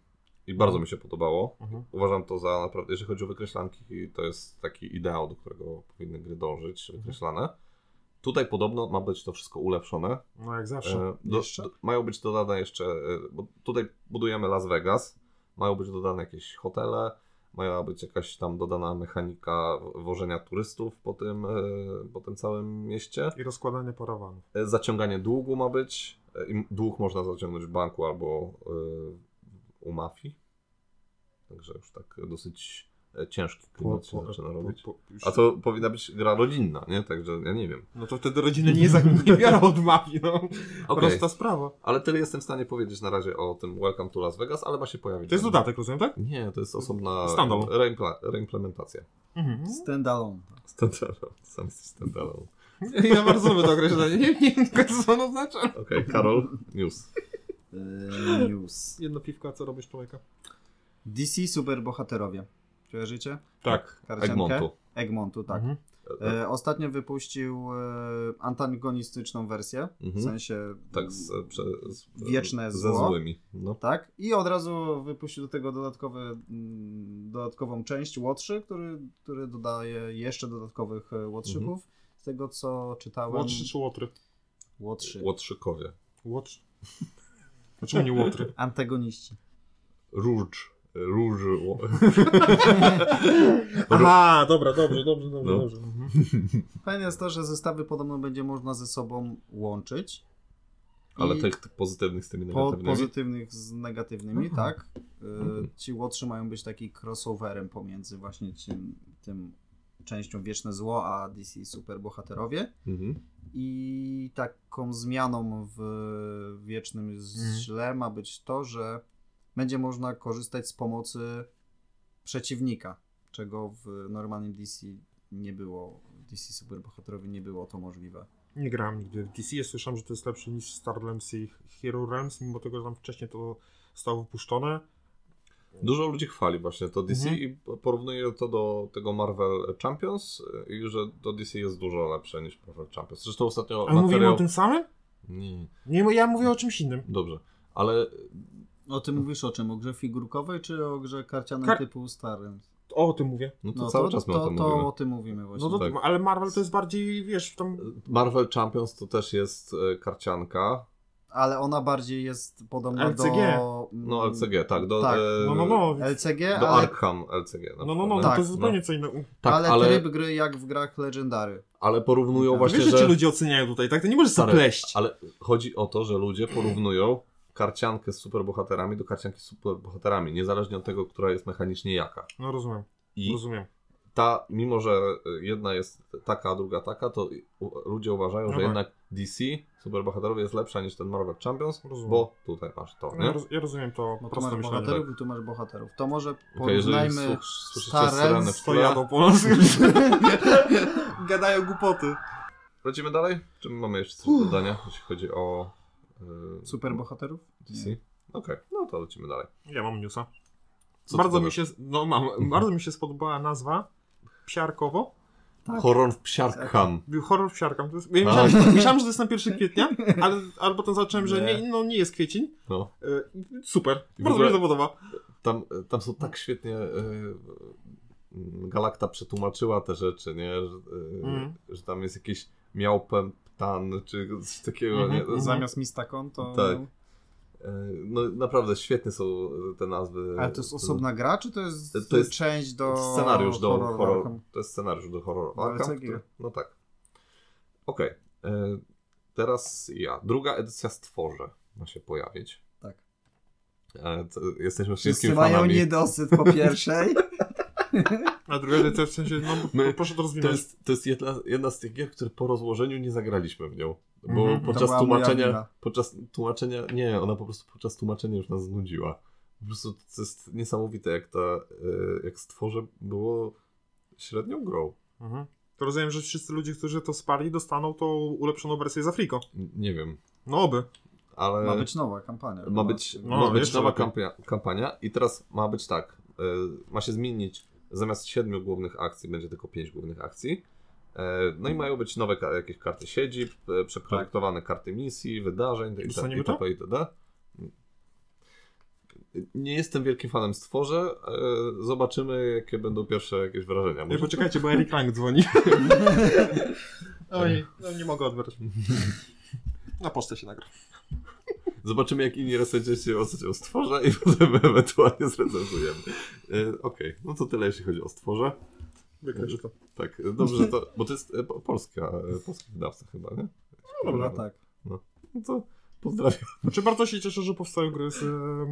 i bardzo mi się podobało. Mhm. Uważam to za naprawdę, jeżeli chodzi o wykreślanki, to jest taki ideał, do którego powinny gry dążyć, wykreślane. Tutaj podobno ma być to wszystko ulepszone. No jak zawsze. E, do, Jeszcze? do, mają być dodane jeszcze, e, bo tutaj budujemy Las Vegas, mają być dodane jakieś hotele, mała być jakaś tam dodana mechanika wo- wożenia turystów po tym, e, po tym całym mieście. I rozkładanie parawanów. E, Zaciąganie długu ma być. E, i Dług można zaciągnąć w banku albo e, u mafii. Także już tak dosyć e, ciężki klimat się zaczyna robić. po- już- no, A to powinna być gra rodzinna, nie? Także ja nie wiem. No to wtedy rodziny nie, za, *laughs* nie biorą od mafii, no. Okej, Prosta sprawa. ale tyle jestem w stanie powiedzieć na razie o tym Welcome to Las Vegas, ale ma się pojawić. To jest dodatek, rozumiem, tak? Nie, to jest osobna Standalone. reimpla- reimplementacja. Mhm. Standalone. Standalone. Sam jesteś standalone. *laughs* Ja bardzo lubię to określenie. Nie nie wiem, co ono oznacza. Okej, *laughs* Karol, news. Eee, news. *laughs* Jedno piwko, a co robisz człowieka? DC Superbohaterowie. Kojarzycie? Tak. Karciankę? Egmontu. Egmontu, tak. Mhm. E, ostatnio wypuścił e, antagonistyczną wersję, w Mhm. sensie Tak, z, prze, z, e, Wieczne ze zło. złymi. No. tak? I od razu wypuścił do tego dodatkowy, mm, dodatkową część Łotrzy, który, który dodaje jeszcze dodatkowych e, Łotrzyków. Z tego co czytałem. Łotrzy czy łotry? Łotrzy. Łotrzykowie. Łotrzy. Dlaczego nie *laughs* łotry? Antagoniści. Róż. Róż. Ło... Aha, dobra, dobrze, dobrze, dobrze. No. dobrze. Mhm. Fajne jest to, że zestawy podobno będzie można ze sobą łączyć. Ale I tych pozytywnych z tymi po, negatywnymi. pozytywnych z negatywnymi, Mhm. tak? Y, Mhm. Ci łotrzy mają być taki crossoverem pomiędzy właśnie tym, tym częścią Wieczne Zło, a DC Superbohaterowie. Mhm. I taką zmianą w Wiecznym Mhm. Źle ma być to, że będzie można korzystać z pomocy przeciwnika, czego w normalnym DC nie było. DC Superbohaterowie nie było to możliwe. Nie grałem nigdy w DC. Ja słyszałem, że to jest lepsze niż Star Realms i Hero Realms, mimo tego, że tam wcześniej to zostało wypuszczone. Dużo ludzi chwali właśnie to DC Mhm. i porównuje to do tego Marvel Champions y, i że to DC jest dużo lepsze niż Marvel Champions. Zresztą ostatnio Ale mówimy o tym samym? Nie, Nie, bo ja mówię o czymś innym. dobrze. Ale O Mhm. tym mówisz o czym? O grze figurkowej czy o grze karcianej Kar- typu starym? O tym mówię. no to cały czas my to, o tym to mówimy. o tym mówimy właśnie. No to, tak. Ale Marvel to jest bardziej, wiesz, tam... Marvel Champions to też jest e, karcianka. Ale ona bardziej jest podobna LCG. do... mm, No LCG, tak. Do, Tak. e, No, no, no. LCG, do ale, Arkham LCG. na No, no, przykład, no, nie? tak, to jest zupełnie co innego. tak, ale, ale, tryb gry jak w grach Legendary. ale porównują Tak. właśnie, wiesz, że że... ci ludzie oceniają tutaj, tak? To nie możesz Stary, zapleść. Ale chodzi o to, że ludzie porównują karciankę z superbohaterami do karcianki z superbohaterami, niezależnie od tego, która jest mechanicznie jaka. No rozumiem, I rozumiem. ta, mimo że jedna jest taka, a druga taka, to u- ludzie uważają, że Aha. jednak DC, superbohaterowie, jest lepsza niż ten Marvel Champions, Rozumiem. bo tutaj masz to, Ja, nie? roz, ja rozumiem to Bo tu proste No masz myślenie. bohaterów i tu masz bohaterów. To może Okej, jeżeli porównajmy... słuch- słyszycie stare syrenę w To tle, ja do *laughs* Polski. Gadają głupoty. lecimy dalej? Czy mamy jeszcze coś do Uff. dodania, jeśli chodzi o y, Superbohaterów? DC? Okej, no to lecimy dalej. Ja mam newsa. Co ty bardzo mi powiesz? się, no *laughs* mam, bardzo mi się spodobała nazwa. Psiarkowo. Tak. Horror w psiarkam. Był Horror psiarkam. To jest, ja A. myślałem, że, myślałem, że to jest na 1 *laughs* kwietnia, ale, ale potem zobaczyłem, że Nie. nie, no, nie jest kwiecień. No. Y, Super. I w Bardzo ogóle- mi się to podoba. Tam, tam są tak świetnie. y, y, Galakta przetłumaczyła te rzeczy, nie? Że, y, Mhm. że tam jest jakiś miałpem ptan czy coś takiego. Mhm, nie? mhm. Zamiast Mistakon to... Tak. Y, No naprawdę świetne są e, te nazwy. Ale to jest osobna gra, czy to jest, To jest część do... Scenariusz do horroru? horroru. To jest scenariusz do horroru. No, ale Arkham, co który... gier? No tak. Okej. y, Teraz ja. Druga edycja Stworze ma się pojawić. Tak. E, to- Jesteśmy Wszyscy wszystkimi mają fanami. niedosyt po pierwszej. A druga edycja w sensie, no My- My, proszę to To rozwinąć. jest, to jest jedna, jedna z tych gier, które po rozłożeniu nie zagraliśmy w nią. Bo Mhm. To podczas była moja tłumaczenia. wina. Podczas tłumaczenia. Nie, ona po prostu podczas tłumaczenia już nas znudziła. Po prostu to jest niesamowite, jak ta. y, Jak stworze było średnią grą. Mhm. To rozumiem, że wszyscy ludzie, którzy to spali, dostaną tą ulepszoną wersję z Afriko. N- Nie wiem, No oby. ale. Ma być nowa kampania. ma być, No, ma być jeszcze nowa lepiej. kampania, kampania, i teraz ma być tak. y, Ma się zmienić. Zamiast siedmiu głównych akcji będzie tylko pięć głównych akcji. Y, No i mają być nowe ka- jakieś karty siedzib, y, przeprojektowane Tak. karty misji, wydarzeń itd. Dostaniemy itd. to? itd. Nie jestem wielkim fanem stworze. y, Zobaczymy, jakie będą pierwsze jakieś wrażenia. Nie, Może- poczekajcie, bo Eric Lang dzwoni. *laughs* Oj, no nie mogę odbrać. Na postę się nagra. Zobaczymy, jak inni recenzenci ocenią stworze i *laughs* potem ewentualnie zrecenzujemy. Y, Okej, no to tyle, jeśli chodzi o stworze. Wykręcę to. Tak, dobrze, że to, bo to jest e, po- polska, e, polski wydawca chyba, nie? Dobra, tak. No to pozdrawiam. Znaczy bardzo się cieszę, że powstają gry z... Um,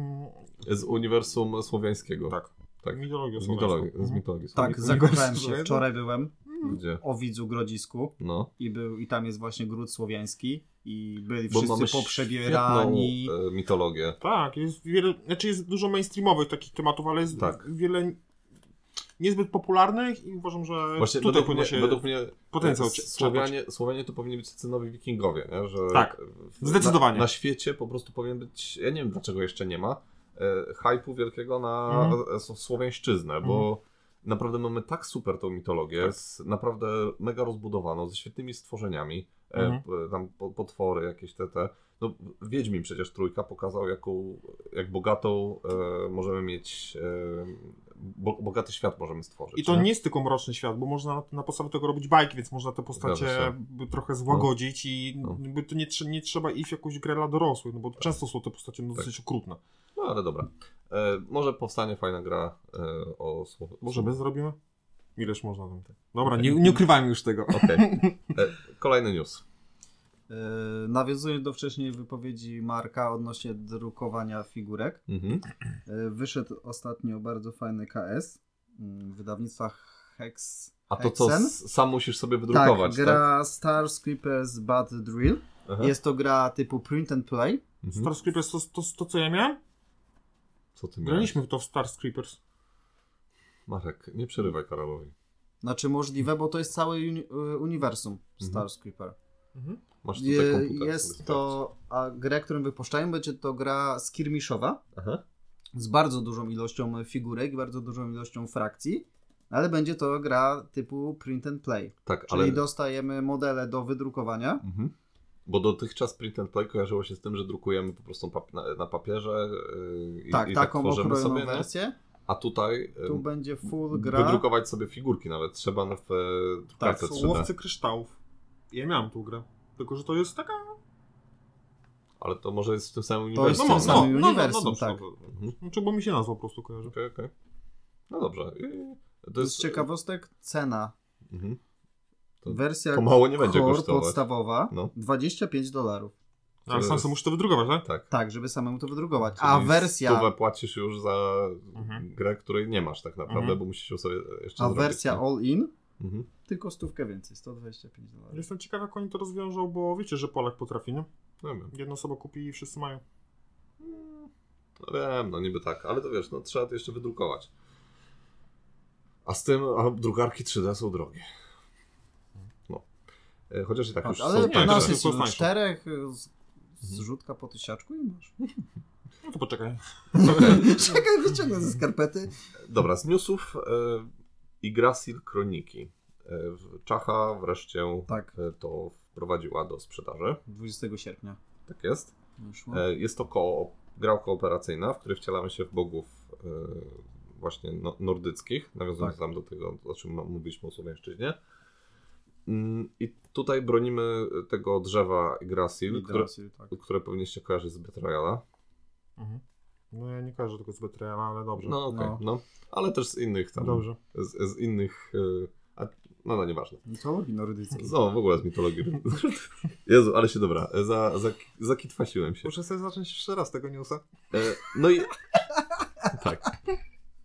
Z uniwersum słowiańskiego. tak. Tak. Mitologią Mhm. Z słowiańską. mitologii. Z mitologii Tak, słowiańskiej. zakochałem Uniwersum, się. nie? Wczoraj byłem Gdzie? o widzu Grodzisku No. i, był, i tam jest właśnie Gród Słowiański i byli Bo mamy wszyscy poprzebierani. świetną, e, mitologię. Tak, jest wiele, znaczy jest dużo mainstreamowych takich tematów, ale jest Tak. wiele niezbyt popularnych i uważam, E, że Właśnie tutaj według powinno mnie, się według mnie potencjał e, cie- Słowianie, Słowianie to powinni być tacy nowi wikingowie, nie? Że Tak, w- zdecydowanie. Na, na świecie po prostu powinien być, ja nie wiem dlaczego jeszcze nie ma, e, hypu wielkiego na Mhm. e, s- słowiańszczyznę, bo naprawdę mamy tak super tą mitologię, z naprawdę mega rozbudowaną, ze świetnymi stworzeniami, e, Mhm. p- tam po- potwory jakieś te, te. No, Wiedźmin przecież trójka pokazał, jaką, jak bogatą e, możemy mieć, e, bo, bogaty świat możemy stworzyć. I to nie? nie jest tylko mroczny świat, bo można na, na podstawie tego robić bajki, więc można te Zgadza postacie się. by trochę złagodzić i No. by to nie, trze- nie trzeba iść w jakąś grę dla dorosłych, no bo często są te postacie no, Tak. dosyć okrutne. No ale dobra. E, może powstanie fajna gra e, o słowo. Może my zrobimy? Ileż można tam tak. Dobra, Okej. Mhm. nie, nie ukrywajmy już tego. Okej. E, Kolejny news. Yy, nawiązując do wcześniej wypowiedzi Marka odnośnie drukowania figurek, Mhm. yy, wyszedł ostatnio bardzo fajny KS yy, wydawnictwa Hex. A to co, Hexen? s- sam musisz sobie Tak, wydrukować, tak? gra Star Scrippers Bad Drill. Aha. Jest to gra typu print and play. Mhm. Star Creepers to, to, to co ja miałem? Co ty miałeś? Graliśmy w to w Star Creepers. Marek, nie przerywaj Karolowi. Znaczy możliwe, bo to jest całe uni y, uniwersum Mhm. Star Scripper. Masz tutaj Je, komputer. jest sobie to a grę, którą wypuszczają, będzie to gra skirmiszowa sprawdź. Aha. z bardzo dużą ilością figurek, i bardzo dużą ilością frakcji, ale będzie to gra typu print and play. Tak, Czyli ale... dostajemy modele do wydrukowania. Mhm. Bo dotychczas print and play kojarzyło się z tym, że drukujemy po prostu pap na, na papierze y, i, tak, i tak taką tworzymy okrojoną sobie, nie? wersję. a tutaj y, Tu będzie full gra. wydrukować sobie figurki nawet trzeba na- w e, Tak, drukarce są 3D. łowcy kryształów. Ja miałem tą grę. Tylko, że to jest taka... Ale to może jest w tym samym To jest w uniwersum. tym nie? samym uniwersum, tak. No, Mhm. Znaczy, bo mi się nazwa po prostu kojarzy. Okej, okej. No dobrze. I- To jest ciekawostek, cena. Mhm. To- Wersja e, To mało nie będzie core kosztować. podstawowa No. 25 dolarów. Ale sam sobie musisz to wydrukować, tak? Tak. Tak, żeby samemu to wydrukować. Czyli A wersja, Stówę płacisz już za Mhm. grę, której nie masz tak naprawdę, Mhm. bo musisz ją sobie jeszcze a zrobić, wersja nie? all-in, Mhm. tylko stówkę więcej, 125 dolarów. Jestem ciekaw, jak oni to rozwiążą, bo wiecie, że Polak potrafi, nie? No wiem. Jedna osoba kupi i wszyscy mają. No wiem, no niby tak, ale to wiesz, no trzeba to jeszcze wydrukować. A z tym, a drukarki 3D są drogie. No. E, Chociaż i tak już Patrz, są tańsze, ale po tańsze. Mhm. nas są jest ilu? tańsze. czterech, y, z- zrzutka po tysiaczku i *laughs* masz. No to poczekaj. Czekaj, wyciągnę ze skarpety. Dobra, z newsów e, Yggdrasil Kroniki. E, w- Czacha wreszcie Tak, e, to wprowadziła do sprzedaży. 20 sierpnia Tak jest. wyszło. E, Jest to ko- gra kooperacyjna, w której wcielamy się w bogów e, właśnie no- nordyckich, nawiązując Tak. tam do tego, o czym mówiliśmy o Słowiańszczyźnie. Mm, I tutaj bronimy tego drzewa Grasil, które, Yggdrasil, tak. które powinniście kojarzyć z Betrayala. Mhm. No ja nie kojarzę tylko z Betrayala, ale dobrze. No okej, No. no. Ale też z innych tam, Dobrze. z, z innych, e, a, no no nieważne. Mitologii nordyckiej. No, w ogóle z mitologii. *laughs* Jezu, ale się dobra, za, za, zakitwasiłem się. Muszę sobie zacząć jeszcze raz tego newsa. E, No i *laughs* tak.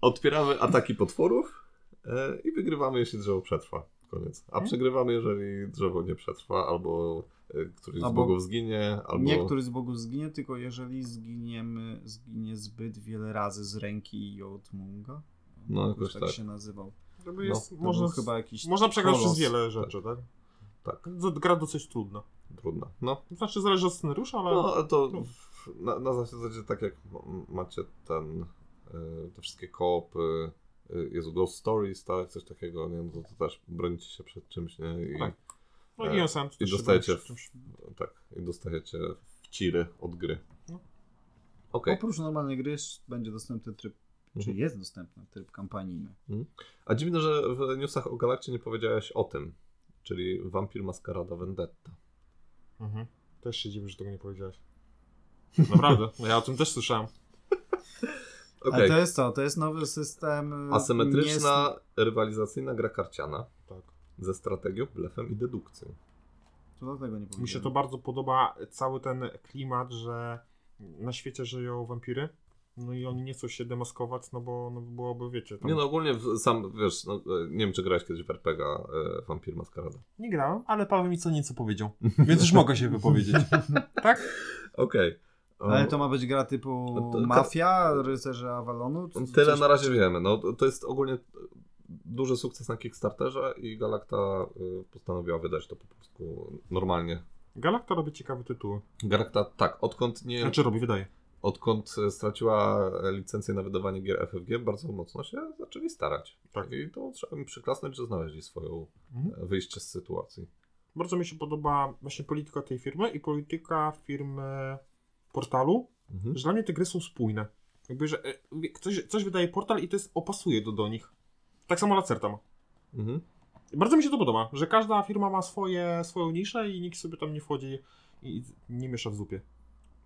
Odpieramy ataki potworów e, i wygrywamy, jeśli drzewo przetrwa. Koniec. A Tak? Mhm. przegrywamy, jeżeli drzewo nie przetrwa, albo e, któryś z Albo- bogów zginie, albo. Nie który z bogów zginie, tylko jeżeli zginiemy, zginie zbyt wiele razy z ręki Jotmunga. No, Jakoś jakoś tak, tak. się nazywał. Żeby No, jest, To można, był chyba jakiś można przegrać kolos. przez wiele rzeczy, tak? Tak, Z- Gra dosyć trudna. trudno. No, Znaczy zależy od scenariusza, ale... no ale to No. w- na, na zasadzie tak jak m- macie ten, e, te wszystkie koopy, e, Jezu, Ghost Stories, tak, coś takiego, nie wiem, to, to też bronicie się przed czymś, nie? I, Tak. No E, i Innocent też się dostajecie bawi przy czymś. tak, i dostajecie w ciry od gry. No. Okej. Oprócz normalnej gry będzie dostępny tryb, czy Mhm. jest dostępny tryb kampanijny. A dziwne, że w newsach o Galakcie nie powiedziałeś o tym, czyli Vampir Maskarada Vendetta. Mhm. Też się dziwię, że tego nie powiedziałeś. Naprawdę, no ja o tym też słyszałem. Okej, Ale to jest to, to jest nowy system. e, asymetryczna, rywalizacyjna gra karciana Tak. ze strategią, blefem i dedukcją. Nie, to dlatego nie Mi się to powiedziałem. bardzo podoba cały ten klimat, że na świecie żyją wampiry. No i oni nie chcą się demaskować, no bo no byłoby, wiecie, tam... Nie no, ogólnie w- sam, wiesz, no, e, nie wiem czy grałeś kiedyś w RPG e, Vampir Maskarada. nie grałem, ale Paweł mi co nieco powiedział, więc już mogę się wypowiedzieć. tak? Okej. E, O, No, Ale to ma być gra typu No To- to- Mafia, Rycerze Avalonu? Czy Tyle coś- na razie wiemy. No, to- to jest ogólnie e, duży sukces na Kickstarterze i Galakta e, postanowiła wydać to po prostu normalnie. Galakta robi ciekawe tytuły. Galakta, tak, odkąd nie... Znaczy robi, wydaje. odkąd e, straciła e, licencję na wydawanie gier FFG, bardzo mocno się zaczęli starać. Tak. I to trzeba im przyklasnąć, że znaleźli swoją Mhm. e, wyjście z sytuacji. Bardzo mi się podoba właśnie polityka tej firmy i polityka firmy portalu, Mhm. że dla mnie te gry są spójne. Jakby, że e, wie- ktoś, coś wydaje portal i to jest opasuje do, do nich. Tak samo Lacerta ma. Mhm. I Bardzo mi się to podoba, że każda firma ma swoje, swoją niszę i nikt sobie tam nie wchodzi i i nie miesza w zupie.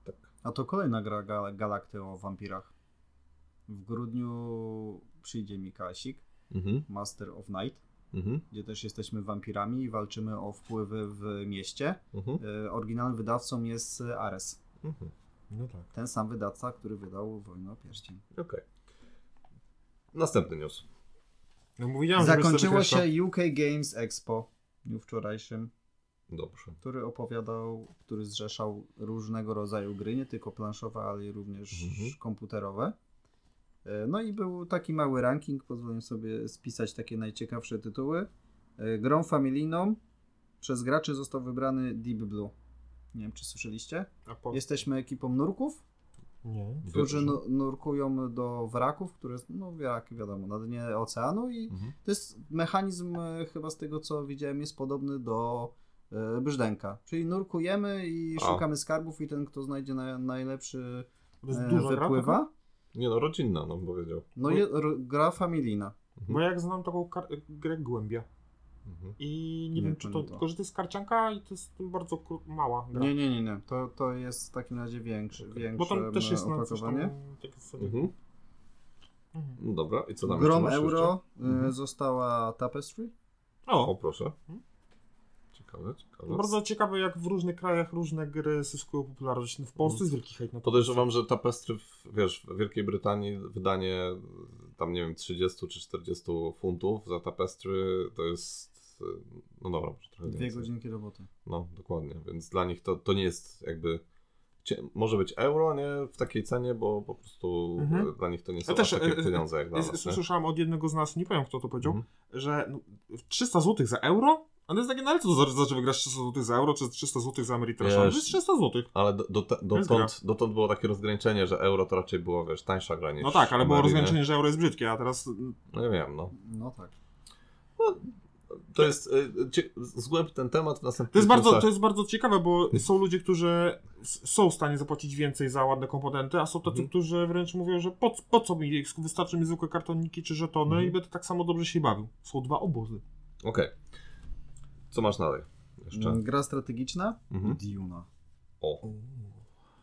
Tak. A to kolejna gra gal Galakty o wampirach. W grudniu przyjdzie mi Kasik, Mhm. Master of Night, Mhm. gdzie też jesteśmy wampirami i walczymy o wpływy w mieście. Mhm. E, Oryginalnym wydawcą jest e, Ares. Mhm. No tak. Ten sam wydawca, który wydał Wojnę o Pierścień. Okej. Następny news. No mówiłem, Zakończyło się UK Games Expo w dniu wczorajszym, Dobrze. który opowiadał, który zrzeszał różnego rodzaju gry, nie tylko planszowe, ale i również Mhm. komputerowe. E, No i był taki mały ranking, pozwolę sobie spisać takie najciekawsze tytuły. E, Grą familijną przez graczy został wybrany Deep Blue. Nie wiem, czy słyszeliście. A po... Jesteśmy ekipą nurków, Nie. którzy Dobrze. nu- nurkują do wraków, które, no wraki wiadomo, na dnie oceanu i Mhm. to jest mechanizm e, chyba z tego, co widziałem, jest podobny do e, brzdęka. Czyli nurkujemy i A. szukamy skarbów i ten, kto znajdzie na, najlepszy To jest e, duża gra. taka? wypływa. Nie no, rodzinna nam powiedział. No i r- gra familijna. Bo jak znam taką kar- grę Głębia Mhm. i nie, Nie, wiem, to czy nie to, to. Tylko, że to jest karcianka i to jest bardzo kró- mała gra. Nie, nie, nie, nie. To, to jest w takim razie większy, Okej. większe Bo tam też jest na coś tam... opakowanie. takie zasady. Mhm. Mhm. No Dobra, i co tam jeszcze Grom masz euro e, Mhm. została Tapestry. O, O, proszę. Mhm. ciekawe, ciekawe. Bardzo ciekawe, jak w różnych krajach różne gry zyskują popularność. No, W Polsce jest wielki hejt na to. Podejrzewam, że tapestry, w- wiesz, w Wielkiej Brytanii wydanie tam, nie wiem, 30 czy 40 funtów za tapestry to jest, y, no dobra, może trochę Dwie więcej. godzinki roboty. No, dokładnie, więc dla nich to, to nie jest jakby, cie- może być euro, nie, w takiej cenie, bo po prostu Mhm. y, dla nich to nie są Ja też, aż takie y, y, pieniądze jak dla Jest- nas, nie? Słyszałem od jednego z nas, nie powiem kto to powiedział, Mhm. że no, 300 zł za euro? Ale jest takie, no ale co to za, za, że wygrasz 300 zł za euro, czy 300 zł za Ameritrasza? To Wiesz- jest 300 zł. Ale do, do, gra. dotąd, dotąd było takie rozgraniczenie, że euro to raczej było, wiesz, tańsza gra niż No tak, ale było Mary, nie? rozgraniczenie, że euro jest brzydkie, a teraz... mm, No nie wiem, no. No tak. To jest, y, cie- zgłęb ten temat w następnym To jest, bardzo, to jest bardzo ciekawe, bo są ludzie, którzy s- są w stanie zapłacić więcej za ładne komponenty, a są tacy, Mhm. którzy wręcz mówią, że po, po co mi, wystarczy mi zwykłe kartoniki czy żetony Mhm. i będę tak samo dobrze się bawił. Są dwa obozy. Okej. Co masz dalej? Jeszcze. Mm, Gra strategiczna? Mhm. Duna. O.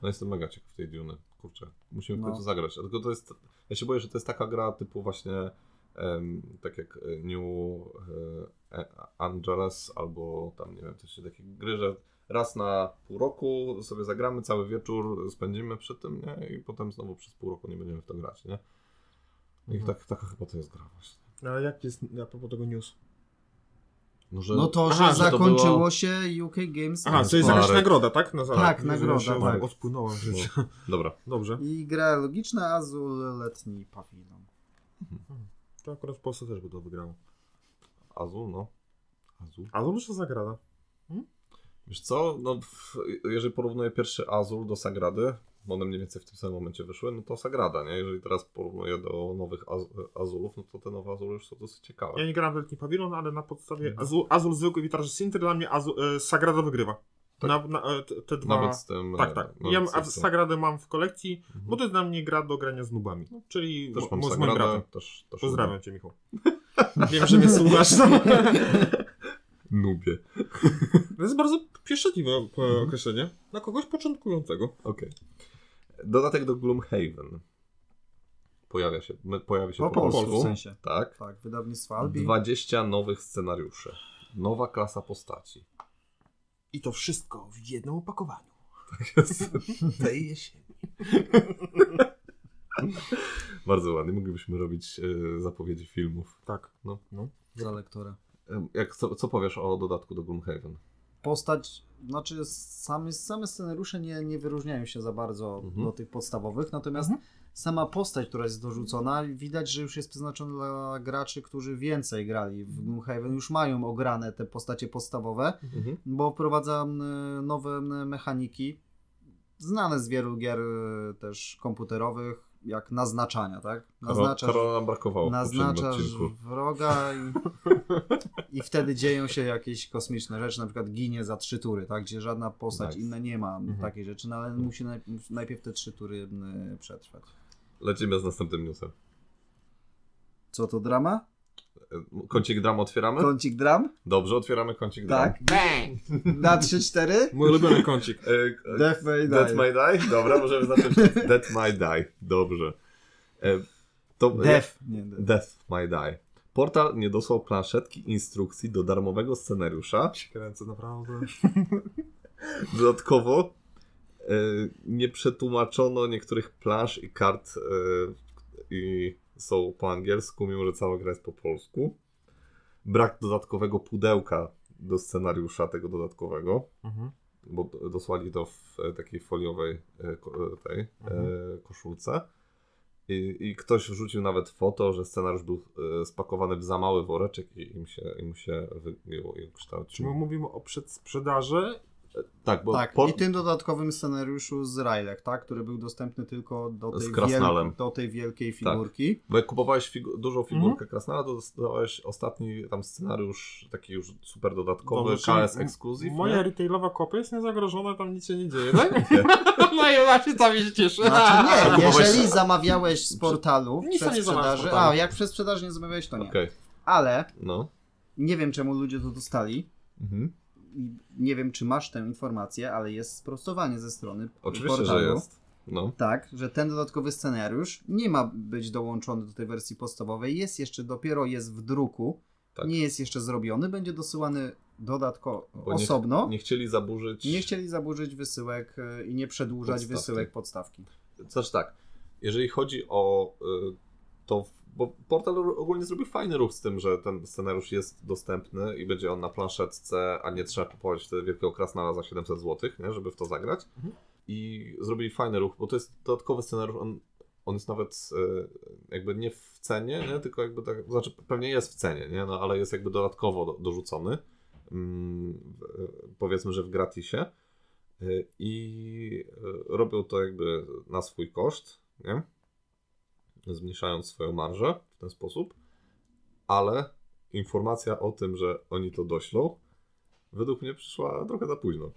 No jestem mega ciekaw tej Duny. Kurczę. Musimy w No. końcu zagrać. Tylko to jest. Ja się boję, że to jest taka gra typu właśnie em, tak jak e, New e, Angeles albo tam nie wiem, też takie gry, że raz na pół roku sobie zagramy, cały wieczór spędzimy przy tym, nie? I potem znowu przez pół roku nie będziemy w to grać, nie? I Mhm. tak, taka chyba to jest gra właśnie. Ale jak jest a propos tego news? No, że... No to, że Aha, że to zakończyło było- się UK Games Aha, to jest Marek. jakaś nagroda, tak? Na Tak, nagroda, tak. Odpłynąłem w życiu. No, dobra. Dobrze. i gra logiczna Azul Letni Pawilon. To akurat w Polsce też by to wygrało. Azul, no. Azul. A to muszę zagrada. Wiesz co, no, w, jeżeli porównuję pierwszy Azul do Sagrady, bo one mniej więcej w tym samym momencie wyszły, no to Sagrada, nie? Jeżeli teraz porównuję do nowych Az Azulów, no to te nowe Azuly już są dosyć ciekawe. Ja nie grałem w Letni Pawilon, ale na podstawie Mhm. Azul, Azul zwykły witarz Sinter dla mnie Azul, e, Sagrada wygrywa. Tak. Na, na, e, te, te dwa... Nawet z tym... e, Tak, tak. nawet Ja z a tym- Sagradę mam w kolekcji, no, Mhm. bo to jest dla mnie gra do grania z nubami. No, Czyli Też mo- mam z moim bratem. Sagradę, też, też Pozdrawiam cię, Michał. *laughs* Wiem, że mnie słuchasz. no. Nubie. *laughs* To jest bardzo pieszczotliwe e, Mhm. określenie. Dla kogoś początkującego. Okej. Dodatek do Gloomhaven. Pojawia się, my- pojawi się No, Po po, polsku w polsku. sensie. Tak. Tak, wydawnictwo Albi. 20 nowych scenariuszy. Nowa klasa postaci. I to wszystko w jednym opakowaniu. Tak *laughs* Tej jesieni. Bardzo ładnie. Moglibyśmy robić e, zapowiedzi filmów. Tak. No. Dla lektora. E, Jak, co, co powiesz o dodatku do Gloomhaven? Postać, znaczy same, same scenariusze nie, nie wyróżniają się za bardzo Mhm. do tych podstawowych, natomiast sama postać, która jest dorzucona, widać, że już jest przeznaczona dla graczy, którzy więcej grali w Gloomhaven, już mają ograne te postacie podstawowe, Mhm. bo wprowadza mm, nowe mm, mechaniki, znane z wielu gier y, też komputerowych, jak naznaczania, tak? Naznaczasz, Karola nam brakowało w poprzednim naznaczasz odcinku. wroga i, i wtedy dzieją się jakieś kosmiczne rzeczy, na przykład ginie za trzy tury, tak? Gdzie żadna postać Nice. inna nie ma Mhm. takiej rzeczy, no ale musi najpierw, najpierw te trzy tury y, przetrwać. Lecimy z następnym newsem. Co to drama? E, Kącik dram otwieramy? Kącik dram? Dobrze, otwieramy kącik dram. Tak. Na 3-4? Mój ulubiony kącik. E, e, Death May That Die. my die? Dobra, możemy *laughs* zacząć od That my die. Dobrze. E, To, Death. Nie, death. Death my die. Portal nie dosłał planszetki instrukcji do darmowego scenariusza. Się kręcę, naprawdę. Dodatkowo e, nie przetłumaczono niektórych plansz i kart e, i są po angielsku, mimo że cała gra jest po polsku. Brak dodatkowego pudełka do scenariusza tego dodatkowego, Mhm. bo dosłali to w e, takiej foliowej e, ko- e, tej, e, Mhm. koszulce. I, I ktoś wrzucił nawet foto, że scenariusz był e, spakowany w za mały woreczek i im się, im się wygięło i Czy my ukształcił. mówimy o przedsprzedaży? Tak, bo No, Tak, por- i tym dodatkowym scenariuszu z Rylek, tak, który był dostępny tylko do Z tej, Krasnalem. Tak. wiel- do tej wielkiej figurki. *laughs* Bo jak kupowałeś figu- dużą figurkę Mhm. Krasnala, to dostałeś ostatni tam scenariusz, taki już super dodatkowy, Dobrze, czyli KS m- Exclusive. Moja nie? retailowa kopia jest niezagrożona, tam nic się nie dzieje, tak? *laughs* No i ona się tam się cieszy. Znaczy *laughs* nie, Kupowałeś- jeżeli zamawiałeś z portalu Nic przez nie zamawiam z sprzedaży, portalu. a jak przez sprzedaż nie zamawiałeś, to nie. Okej, Ale no. nie wiem czemu ludzie to dostali. Mhm. I Nie wiem, czy masz tę informację, ale jest sprostowanie ze strony Oczywiście, portalu. że jest. No. Tak, że ten dodatkowy scenariusz nie ma być dołączony do tej wersji podstawowej, jest jeszcze, dopiero jest w druku Tak. nie jest jeszcze zrobiony, będzie dosyłany dodatkowo Bo nie- osobno. Nie chcieli zaburzyć. Nie chcieli zaburzyć wysyłek y, i nie przedłużać Podstawki. wysyłek podstawki. Znaczy tak, jeżeli chodzi o y, to, bo portal ogólnie zrobił fajny ruch z tym, że ten scenariusz jest dostępny i będzie on na planszetce, a nie trzeba kupować wtedy wielkiego krasnala za 700 zł, nie, żeby w to zagrać. Mhm. I zrobili fajny ruch, bo to jest dodatkowy scenariusz, on, on jest nawet y, jakby nie w cenie, nie, tylko jakby tak, znaczy pewnie jest w cenie, nie, no, ale jest jakby dodatkowo do, dorzucony, mm, w- powiedzmy, że w gratisie. Y, i y, robią to jakby na swój koszt, nie? Zmniejszając swoją marżę w ten sposób, ale informacja o tym, że oni to doślą, według mnie przyszła trochę za późno.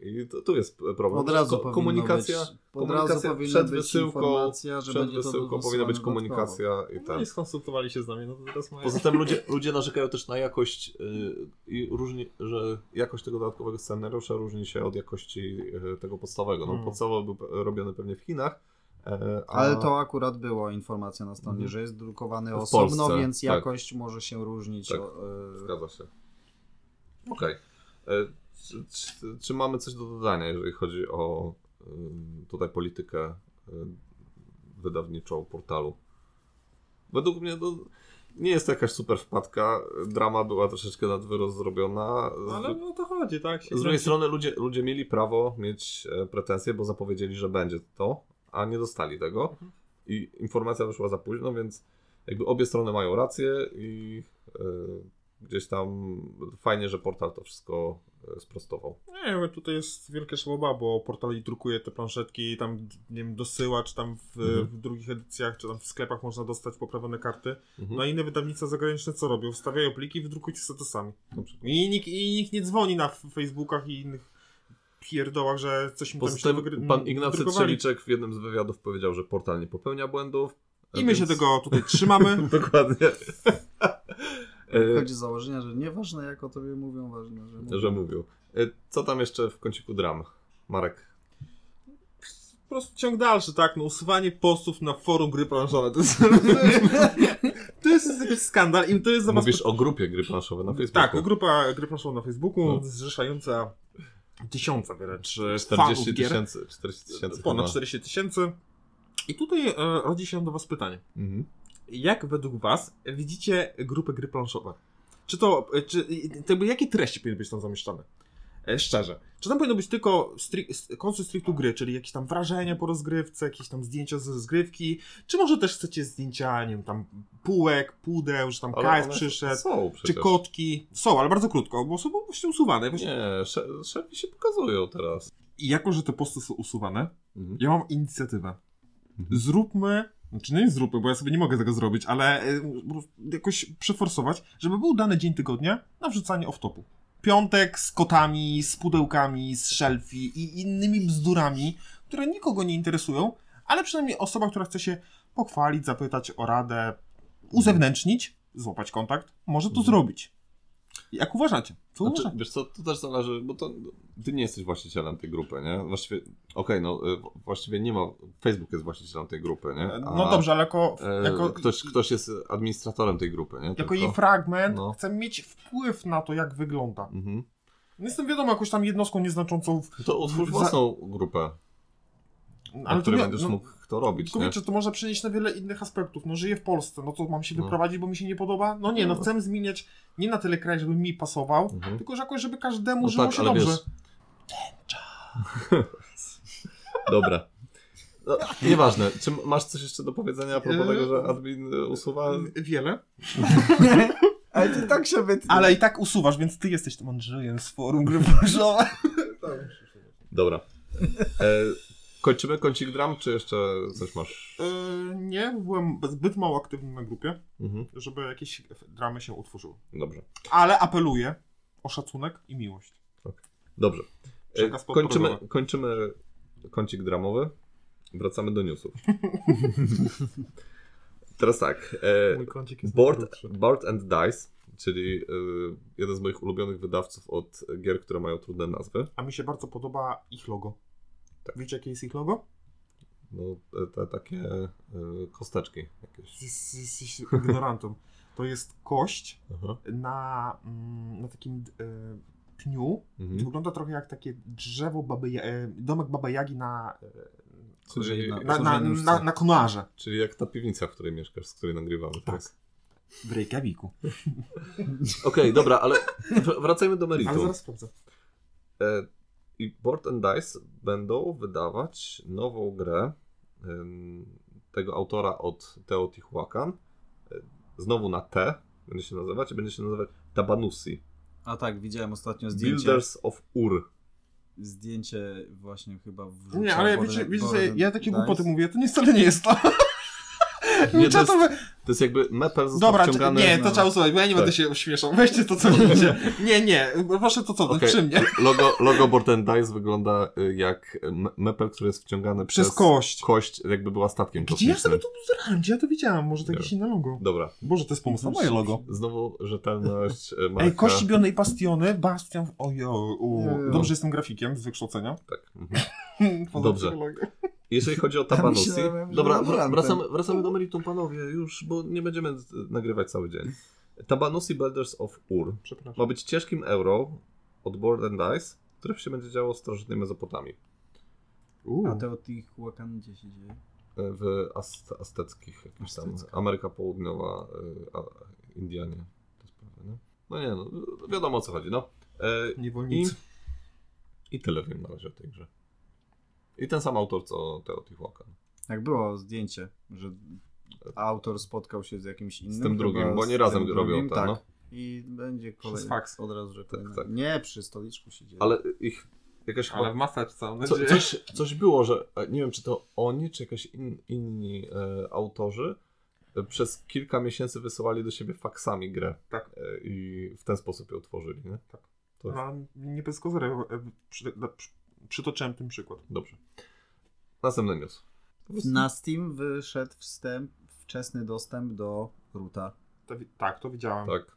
I no to, tu jest problem. Od razu Ko- powinno komunikacja być, od komunikacja razu powinna przed być wysyłką- informacja, że przed będzie to wysyłką powinna dosyłane być dodatkowo. komunikacja i No tak. i skonsultowali się z nami, no to teraz mają... Poza tym ludzie, ludzie narzekają też na jakość y, i różni, że jakość tego dodatkowego scenariusza różni się od jakości y, tego podstawowego. No, Mm. Podstawowy był pe- robiony pewnie w Chinach, e, a Hmm. Ale to akurat była informacja na stronie, Mhm. że jest drukowany W osobno, Polsce, więc tak. jakość może się różnić. Tak. o, y, zgadza się. Okej. E, Czy, czy, czy mamy coś do dodania, jeżeli chodzi o y, tutaj politykę y, wydawniczą portalu? Według mnie to nie jest to jakaś super wpadka. Drama była troszeczkę nad wyrost zrobiona. Ale no o to chodzi, tak? Się Z drugiej kręci. strony ludzie, ludzie mieli prawo mieć e, pretensje, bo zapowiedzieli, że będzie to, a nie dostali tego. Mhm. I informacja wyszła za późno, więc jakby obie strony mają rację i e, gdzieś tam fajnie, że portal to wszystko e, sprostował. Nie, bo tutaj jest wielka szłoba, bo portali drukuje te planszetki i tam, nie wiem, dosyła, czy tam w, Mhm. w drugich edycjach, czy tam w sklepach można dostać poprawione karty. Mhm. No a inne wydawnictwa zagraniczne co robią? Wstawiają pliki i wydrukujcie statusami. Dobrze. I nikt, I nikt nie dzwoni na f- Facebookach i innych pierdołach, że coś mi tam Poza się tym wygry- pan Ignacy wydrukowali. Trzeliczek w jednym z wywiadów powiedział, że portal nie popełnia błędów. e, I my się więc- tego Tak. tutaj trzymamy. *laughs* *laughs* Dokładnie. E, Chodzi z założenia, że nieważne jak o tobie mówią, ważne, że mówią. że mówił. E, Co tam jeszcze w kąciku dram? Marek, Po prostu ciąg dalszy, tak? No usuwanie postów na forum gry planszowe. To jest, to jest jakiś skandal i to jest za was Mówisz o grupie gry planszowe na Facebooku. Tak, grupa gry planszowej na Facebooku, No. zrzeszająca tysiące wręcz e, fanów 40 gier. tysięcy, 40 tysięcy Ponad chyba. 40 tysięcy. I tutaj e, rodzi się do was pytanie. Mhm. Jak według was widzicie grupę gry planszowe? Czy to, e, czy, i- to jakby jakie treści powinny być tam zamieszczane? E, szczerze. Czy tam powinno być tylko stri- s- koncept strictu gry, czyli jakieś tam wrażenia po rozgrywce, jakieś tam zdjęcia z rozgrywki, czy może też chcecie zdjęcia, nie wiem, tam półek, pudeł, że tam Ale KF one przyszedł, Są czy przecież. kotki. Są, ale bardzo krótko, bo są właśnie usuwane. Właśnie Nie, sze- szefi się pokazują teraz. I jako, że te posty są usuwane, Mhm. ja mam inicjatywę. Mhm. Zróbmy, znaczy nie zróbmy, bo ja sobie nie mogę tego zrobić, ale e, jakoś przeforsować, żeby był dany dzień tygodnia na wrzucanie off-topu. Piątek z kotami, z pudełkami, z shelfie i innymi bzdurami, które nikogo nie interesują, ale przynajmniej osoba, która chce się pochwalić, zapytać o radę, uzewnętrznić, złapać kontakt, może to Mhm. zrobić. Jak uważacie? Co Znaczy, uważacie? wiesz co, to też zależy, bo to, ty nie jesteś właścicielem tej grupy, nie? Właściwie, okej, no y, właściwie nie ma, Facebook jest właścicielem tej grupy, nie? A, No dobrze, ale jako... e, jako ktoś, ktoś jest administratorem tej grupy, nie? Jako Tylko. jej fragment No. chcę mieć wpływ na to, jak wygląda. Mhm. No Jestem wiadomo, jakąś tam jednostką nieznaczącą, w- To utwórz Za- własną grupę, na ale to której nie, będziesz no, mógł to robić, tylko nie? wiecie, to można przenieść na wiele innych aspektów. No żyję w Polsce, no to mam się No. wyprowadzić, bo mi się nie podoba? No nie, no No. chcę zmieniać nie na tyle kraj, żeby mi pasował, Mhm. tylko że jakoś, żeby każdemu No żyło tak, się ale dobrze. E, wiesz- *laughs* Dobra. No, nieważne. Czy masz coś jeszcze do powiedzenia a propos Yy. tego, że admin y, usuwa? Wiele, *laughs* Ale ty tak się wytnie. ale i tak usuwasz, więc ty jesteś tym Andrzejem z forum gry *laughs* Dobra. E, kończymy kącik dram, czy jeszcze coś masz? yy, Nie, byłem zbyt mało aktywny na grupie, Mhm. żeby jakieś dramy się utworzyły. Dobrze. Ale apeluję o szacunek i miłość. Dobrze. E, Przekaz kończymy, podprogowy. kończymy kącik dramowy. Wracamy *laughs* do newsów. Teraz tak. E, Mój kącik jest Board, najkrótszy. Board and Dice, czyli y, jeden z moich ulubionych wydawców od gier, które mają trudne nazwy. A mi się bardzo podoba ich logo. Tak. Wiecie, jakie jest ich logo? No, te, te takie y, e, kosteczki jakieś. Jesteś ignorantem. to jest kość Aha. na, mm, na takim e, pniu. Mhm. Wygląda trochę jak takie drzewo, baby, ja- e, domek babajagi na, e, Czyli, Codzienna. na, na, Korzeniówce. na, na konarze czyli jak ta piwnica, w której mieszkasz, z której nagrywamy. Tak. teraz. w Reykjaviku. Okej, dobra, ale wr- wracajmy do meritum. Ale zaraz sprawdzę. E, I Board and Dice będą wydawać nową grę em, tego autora od Teotihuacan. E, Znowu na T będzie się nazywać i będzie się nazywać Tabanusi. A tak, widziałem ostatnio zdjęcie. Builders of Ur. Zdjęcie właśnie chyba No, w Nie, ale wiecie, wiecie sobie, ja takie głupoty mówię, to niestety nie *laughs* jest to. Nie, to, Trzeba jest, to wy- to jest jakby metal został Dobra, czy- wciągany... nie, to na- trzeba usunąć, bo ja nie będę Tak. się śmieszał. Weźcie to, co *laughs* widzicie. Nie, nie, proszę to, co Okej, przy mnie. Logo, logo Board and Dice wygląda y, jak me- mepel, który jest wciągany przez, Przez kość. kość, jakby była statkiem Gdzie ja sobie kosmicznym. to uzrałem? Gdzie ja to widziałem? Może to jakieś inne logo. Dobra, Boże, to jest pomysł na moje logo. znowu rzetelność e, Marka. Ej, kości bionej bastiony, bastion... Ojo, u. Nie. Dobrze jestem grafikiem z wykształcenia. Tak. mhm. *laughs* Poza Dobrze. psychologią. Jeżeli chodzi o Tabanusi. myślałem, że Dobra, mam wr- rantem. wracamy, wracamy do meritum, panowie, już, bo nie będziemy e, nagrywać cały dzień. Tabanusi Builders of Ur Przepraszam. ma być ciężkim euro od Board and Dice, które się będzie działo w starożytnej Mezopotamii, U. A To od tych łakan gdzie się dzieje? e, w Ast- azteckich, jakichś tam, Aztecka. Ameryka Południowa, e, a, Indianie, to jest pewne, nie? No nie, no, wiadomo o co chodzi, no. E, I, Niewolnicy. I tyle wiem na razie o tej grze. I ten sam autor, co Teotihuacan. Jak było zdjęcie, że autor spotkał się z jakimś innym. Z tym drugim, chyba bo z nie razem tym robią drugim, to, tak. no. I będzie kolejny. faks. Od razu, że kolejny. tak. Nie, przy stoliczku się dzieje. Ale ich jakaś chyba Ale w maseczce, mam Co, nadzieję. *laughs* coś, coś było, że e, nie wiem, czy to oni, czy jakaś in, inni e, autorzy e, przez kilka miesięcy wysyłali do siebie faksami grę. Tak. E, I w ten sposób ją tworzyli, nie? Tak. To jest No, nie bez kozery. e, Przy, na- przy, przytoczyłem ten przykład. dobrze. Następny news. Na Steam wyszedł wstęp, wczesny dostęp do Ruta. To, wi- tak, to widziałem. Tak,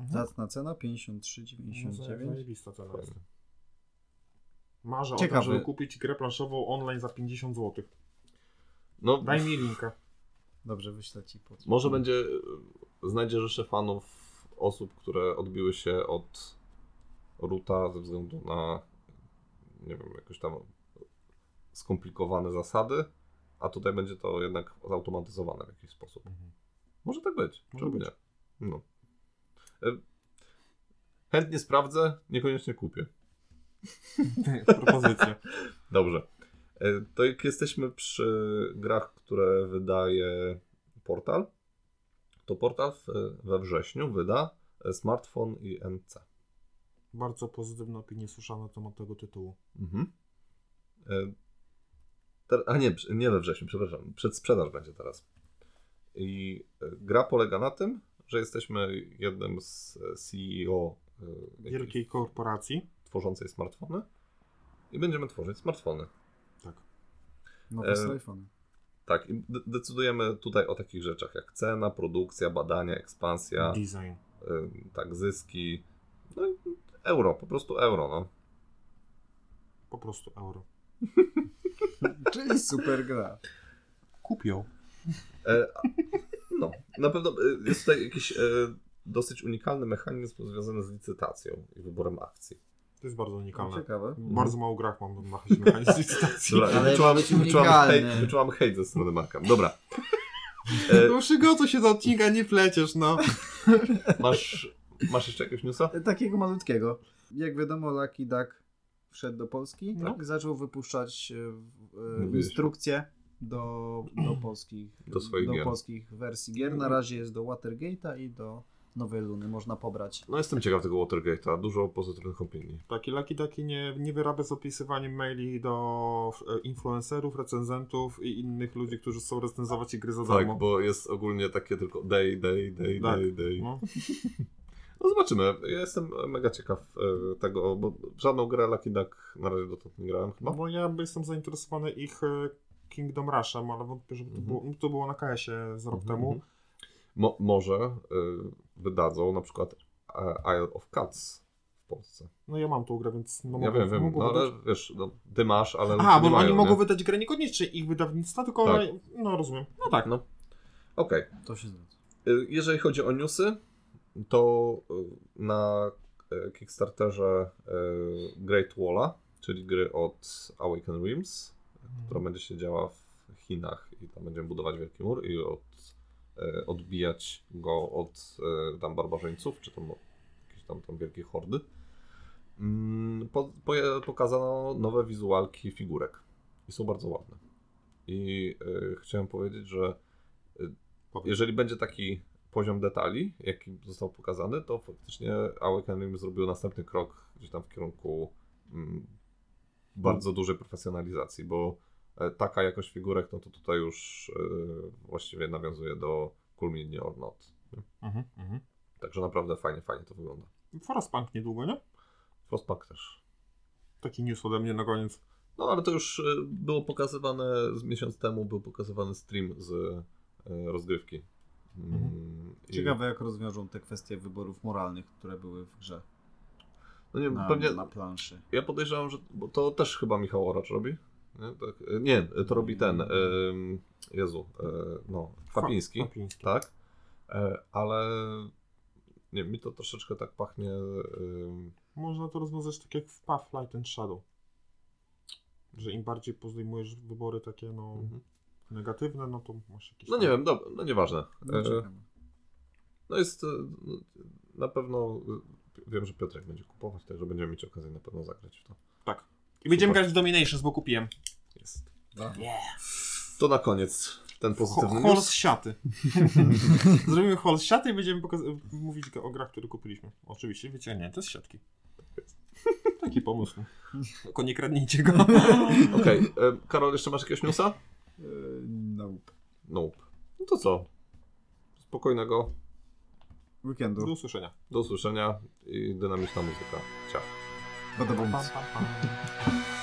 Mhm. Zacna cena No, za- 53,99. zajebista cena jest. fajnie. Marzę o Ciekawy. tym, żeby kupić grę planszową online za 50 zł. No, Daj mi linka. Dobrze, wyślę ci pod. może będzie, e, znajdzie rzesze fanów osób, które odbiły się od Ruta ze względu na, nie wiem, jakoś tam skomplikowane zasady, a tutaj będzie to jednak zautomatyzowane w jakiś sposób. Może tak być. Mhm. Może Czemu być. nie? No. E, Chętnie sprawdzę, niekoniecznie kupię. Propozycja. Dobrze. E, To jak jesteśmy przy grach, które wydaje portal, to portal w- we wrześniu wyda e, smartfon i NC. Bardzo pozytywne opinie słyszałem na temat tego tytułu. Mhm. E, ter- A nie, przy- nie we wrześniu, przepraszam. Przedsprzedaż będzie teraz. I e, gra polega na tym, że jesteśmy jednym z e, CEO e, jakiejś Wielkiej korporacji. tworzącej smartfony i będziemy tworzyć smartfony. Tak. Nowy e, iPhone. Tak, i de- decydujemy tutaj o takich rzeczach jak cena, produkcja, badania, ekspansja, Design. Mhm. y, tak, zyski, no i euro, po prostu euro, no. Po prostu euro. Czyli super gra. Kupią. E, a- No, na pewno e, jest tutaj jakiś e, dosyć unikalny mechanizm związany z licytacją i wyborem akcji. To jest bardzo unikalne. Ciekawe. Bardzo mało grach mam na chęci mechanizm licytacji. *laughs* Dobra, Ale wyczułam, być wyczułam, unikalny. hejt, wyczułam hejt ze strony Marka. Dobra. E, No przygotuj się do odcinka, nie pleciesz, no. masz, masz jeszcze jakiegoś newsa? E, Takiego malutkiego. Jak wiadomo, Lucky Duck wszedł do Polski. No. Tak? Zaczął wypuszczać e, w- e, Mówiliśmy. instrukcje do, *clears throat* do polskich Do swoich gier. Mhm. polskich wersji gier. Na razie jest do Watergate'a i do Nowej Luny. Można pobrać. No jestem ciekaw tego Watergate'a, dużo pozytywnych opinii. Taki laki taki nie, nie wyrabia z opisywaniem maili do e, influencerów, recenzentów i innych ludzi, którzy chcą recenzować i gry za darmo. Tak, bo jest ogólnie takie tylko day, day, day, Tak. day, day. No. No zobaczymy. Ja jestem mega ciekaw e, tego, bo żadną grę Lucky Duck na razie dotąd nie grałem No chyba. bo ja jestem zainteresowany ich e, Kingdom Rushem, ale wątpię, żeby to, Mhm. było, to było na KS-ie z rok Mhm, temu. mhm. Mo- może e, wydadzą na przykład e, Isle of Cats w Polsce. No ja mam tą grę, więc... No, Ja mogą- wiem, wiem, mogą no ale wydać- wiesz, no, ty masz, ale Aha, ludzie bo nie oni mają, mogą nie? wydać grę niekoniecznie ich wydawnictwa, tylko Tak. one... No rozumiem. No tak. No. Okej, To się zwraca. Y, Jeżeli chodzi o newsy, to y, na y, Kickstarterze y, Great Walla, czyli gry od Awaken Realms, która będzie się działa w Chinach i tam będziemy budować wielki mur i od, e, odbijać go od e, tam barbarzyńców, czy tam no, jakieś tam, tam wielkie hordy. Mm, Po, poje- pokazano nowe wizualki figurek i są bardzo ładne. I e, chciałem powiedzieć, że e, jeżeli będzie taki poziom detali, jaki został pokazany, to faktycznie Awakening zrobił następny krok gdzieś tam w kierunku mm, bardzo dużej profesjonalizacji, bo e, taka jakość figurek, no to tutaj już e, właściwie nawiązuje do Culmin or Not. Mhm, mhm. Także naprawdę fajnie, fajnie to wygląda. Frostpunk niedługo, nie? Frostpunk też. Taki news ode mnie na koniec. No ale to już e, było pokazywane z miesiąc temu, był pokazywany stream z e, rozgrywki. Mm, i- Mhm. Ciekawe, jak rozwiążą te kwestie wyborów moralnych, które były w grze No nie, na, pewnie na planszy. Ja podejrzewam, że bo to też chyba Michał Oracz robi. Nie, tak, e, nie to robi ten. em, Jezu, e, no, Kwapiński, Kwapiński. tak. E, Ale nie, mi to troszeczkę tak pachnie. em, Można to rozwiązać tak jak w Path, Light and Shadow. Że im bardziej pozdejmujesz wybory takie, no, negatywne, no to masz jakieś... Mhm. No nie tam- wiem, dobra, no nieważne. No, E, ciekawe. No jest e, no, na pewno. e, Wiem, że Piotrek będzie kupować, także będziemy mieć okazję na pewno zagrać w to. Tak. I będziemy grać w Dominations, bo kupiłem. Jest. To na koniec ten pozytywny Ho- Hol z news. *laughs* siaty. Zrobimy hol z siaty i będziemy pokaz- mówić go o grach, które kupiliśmy. Oczywiście wyciągnięte z siatki. Taki pomysł. Tylko nie kradnijcie *laughs* go. Okej, e, Karol, jeszcze masz jakiegoś newsa? E, Nope. Nope. No to co? Spokojnego Weekendu. Do usłyszenia. Do usłyszenia i dynamiczna muzyka. Ciao. Badabum. Pam, pam, pam.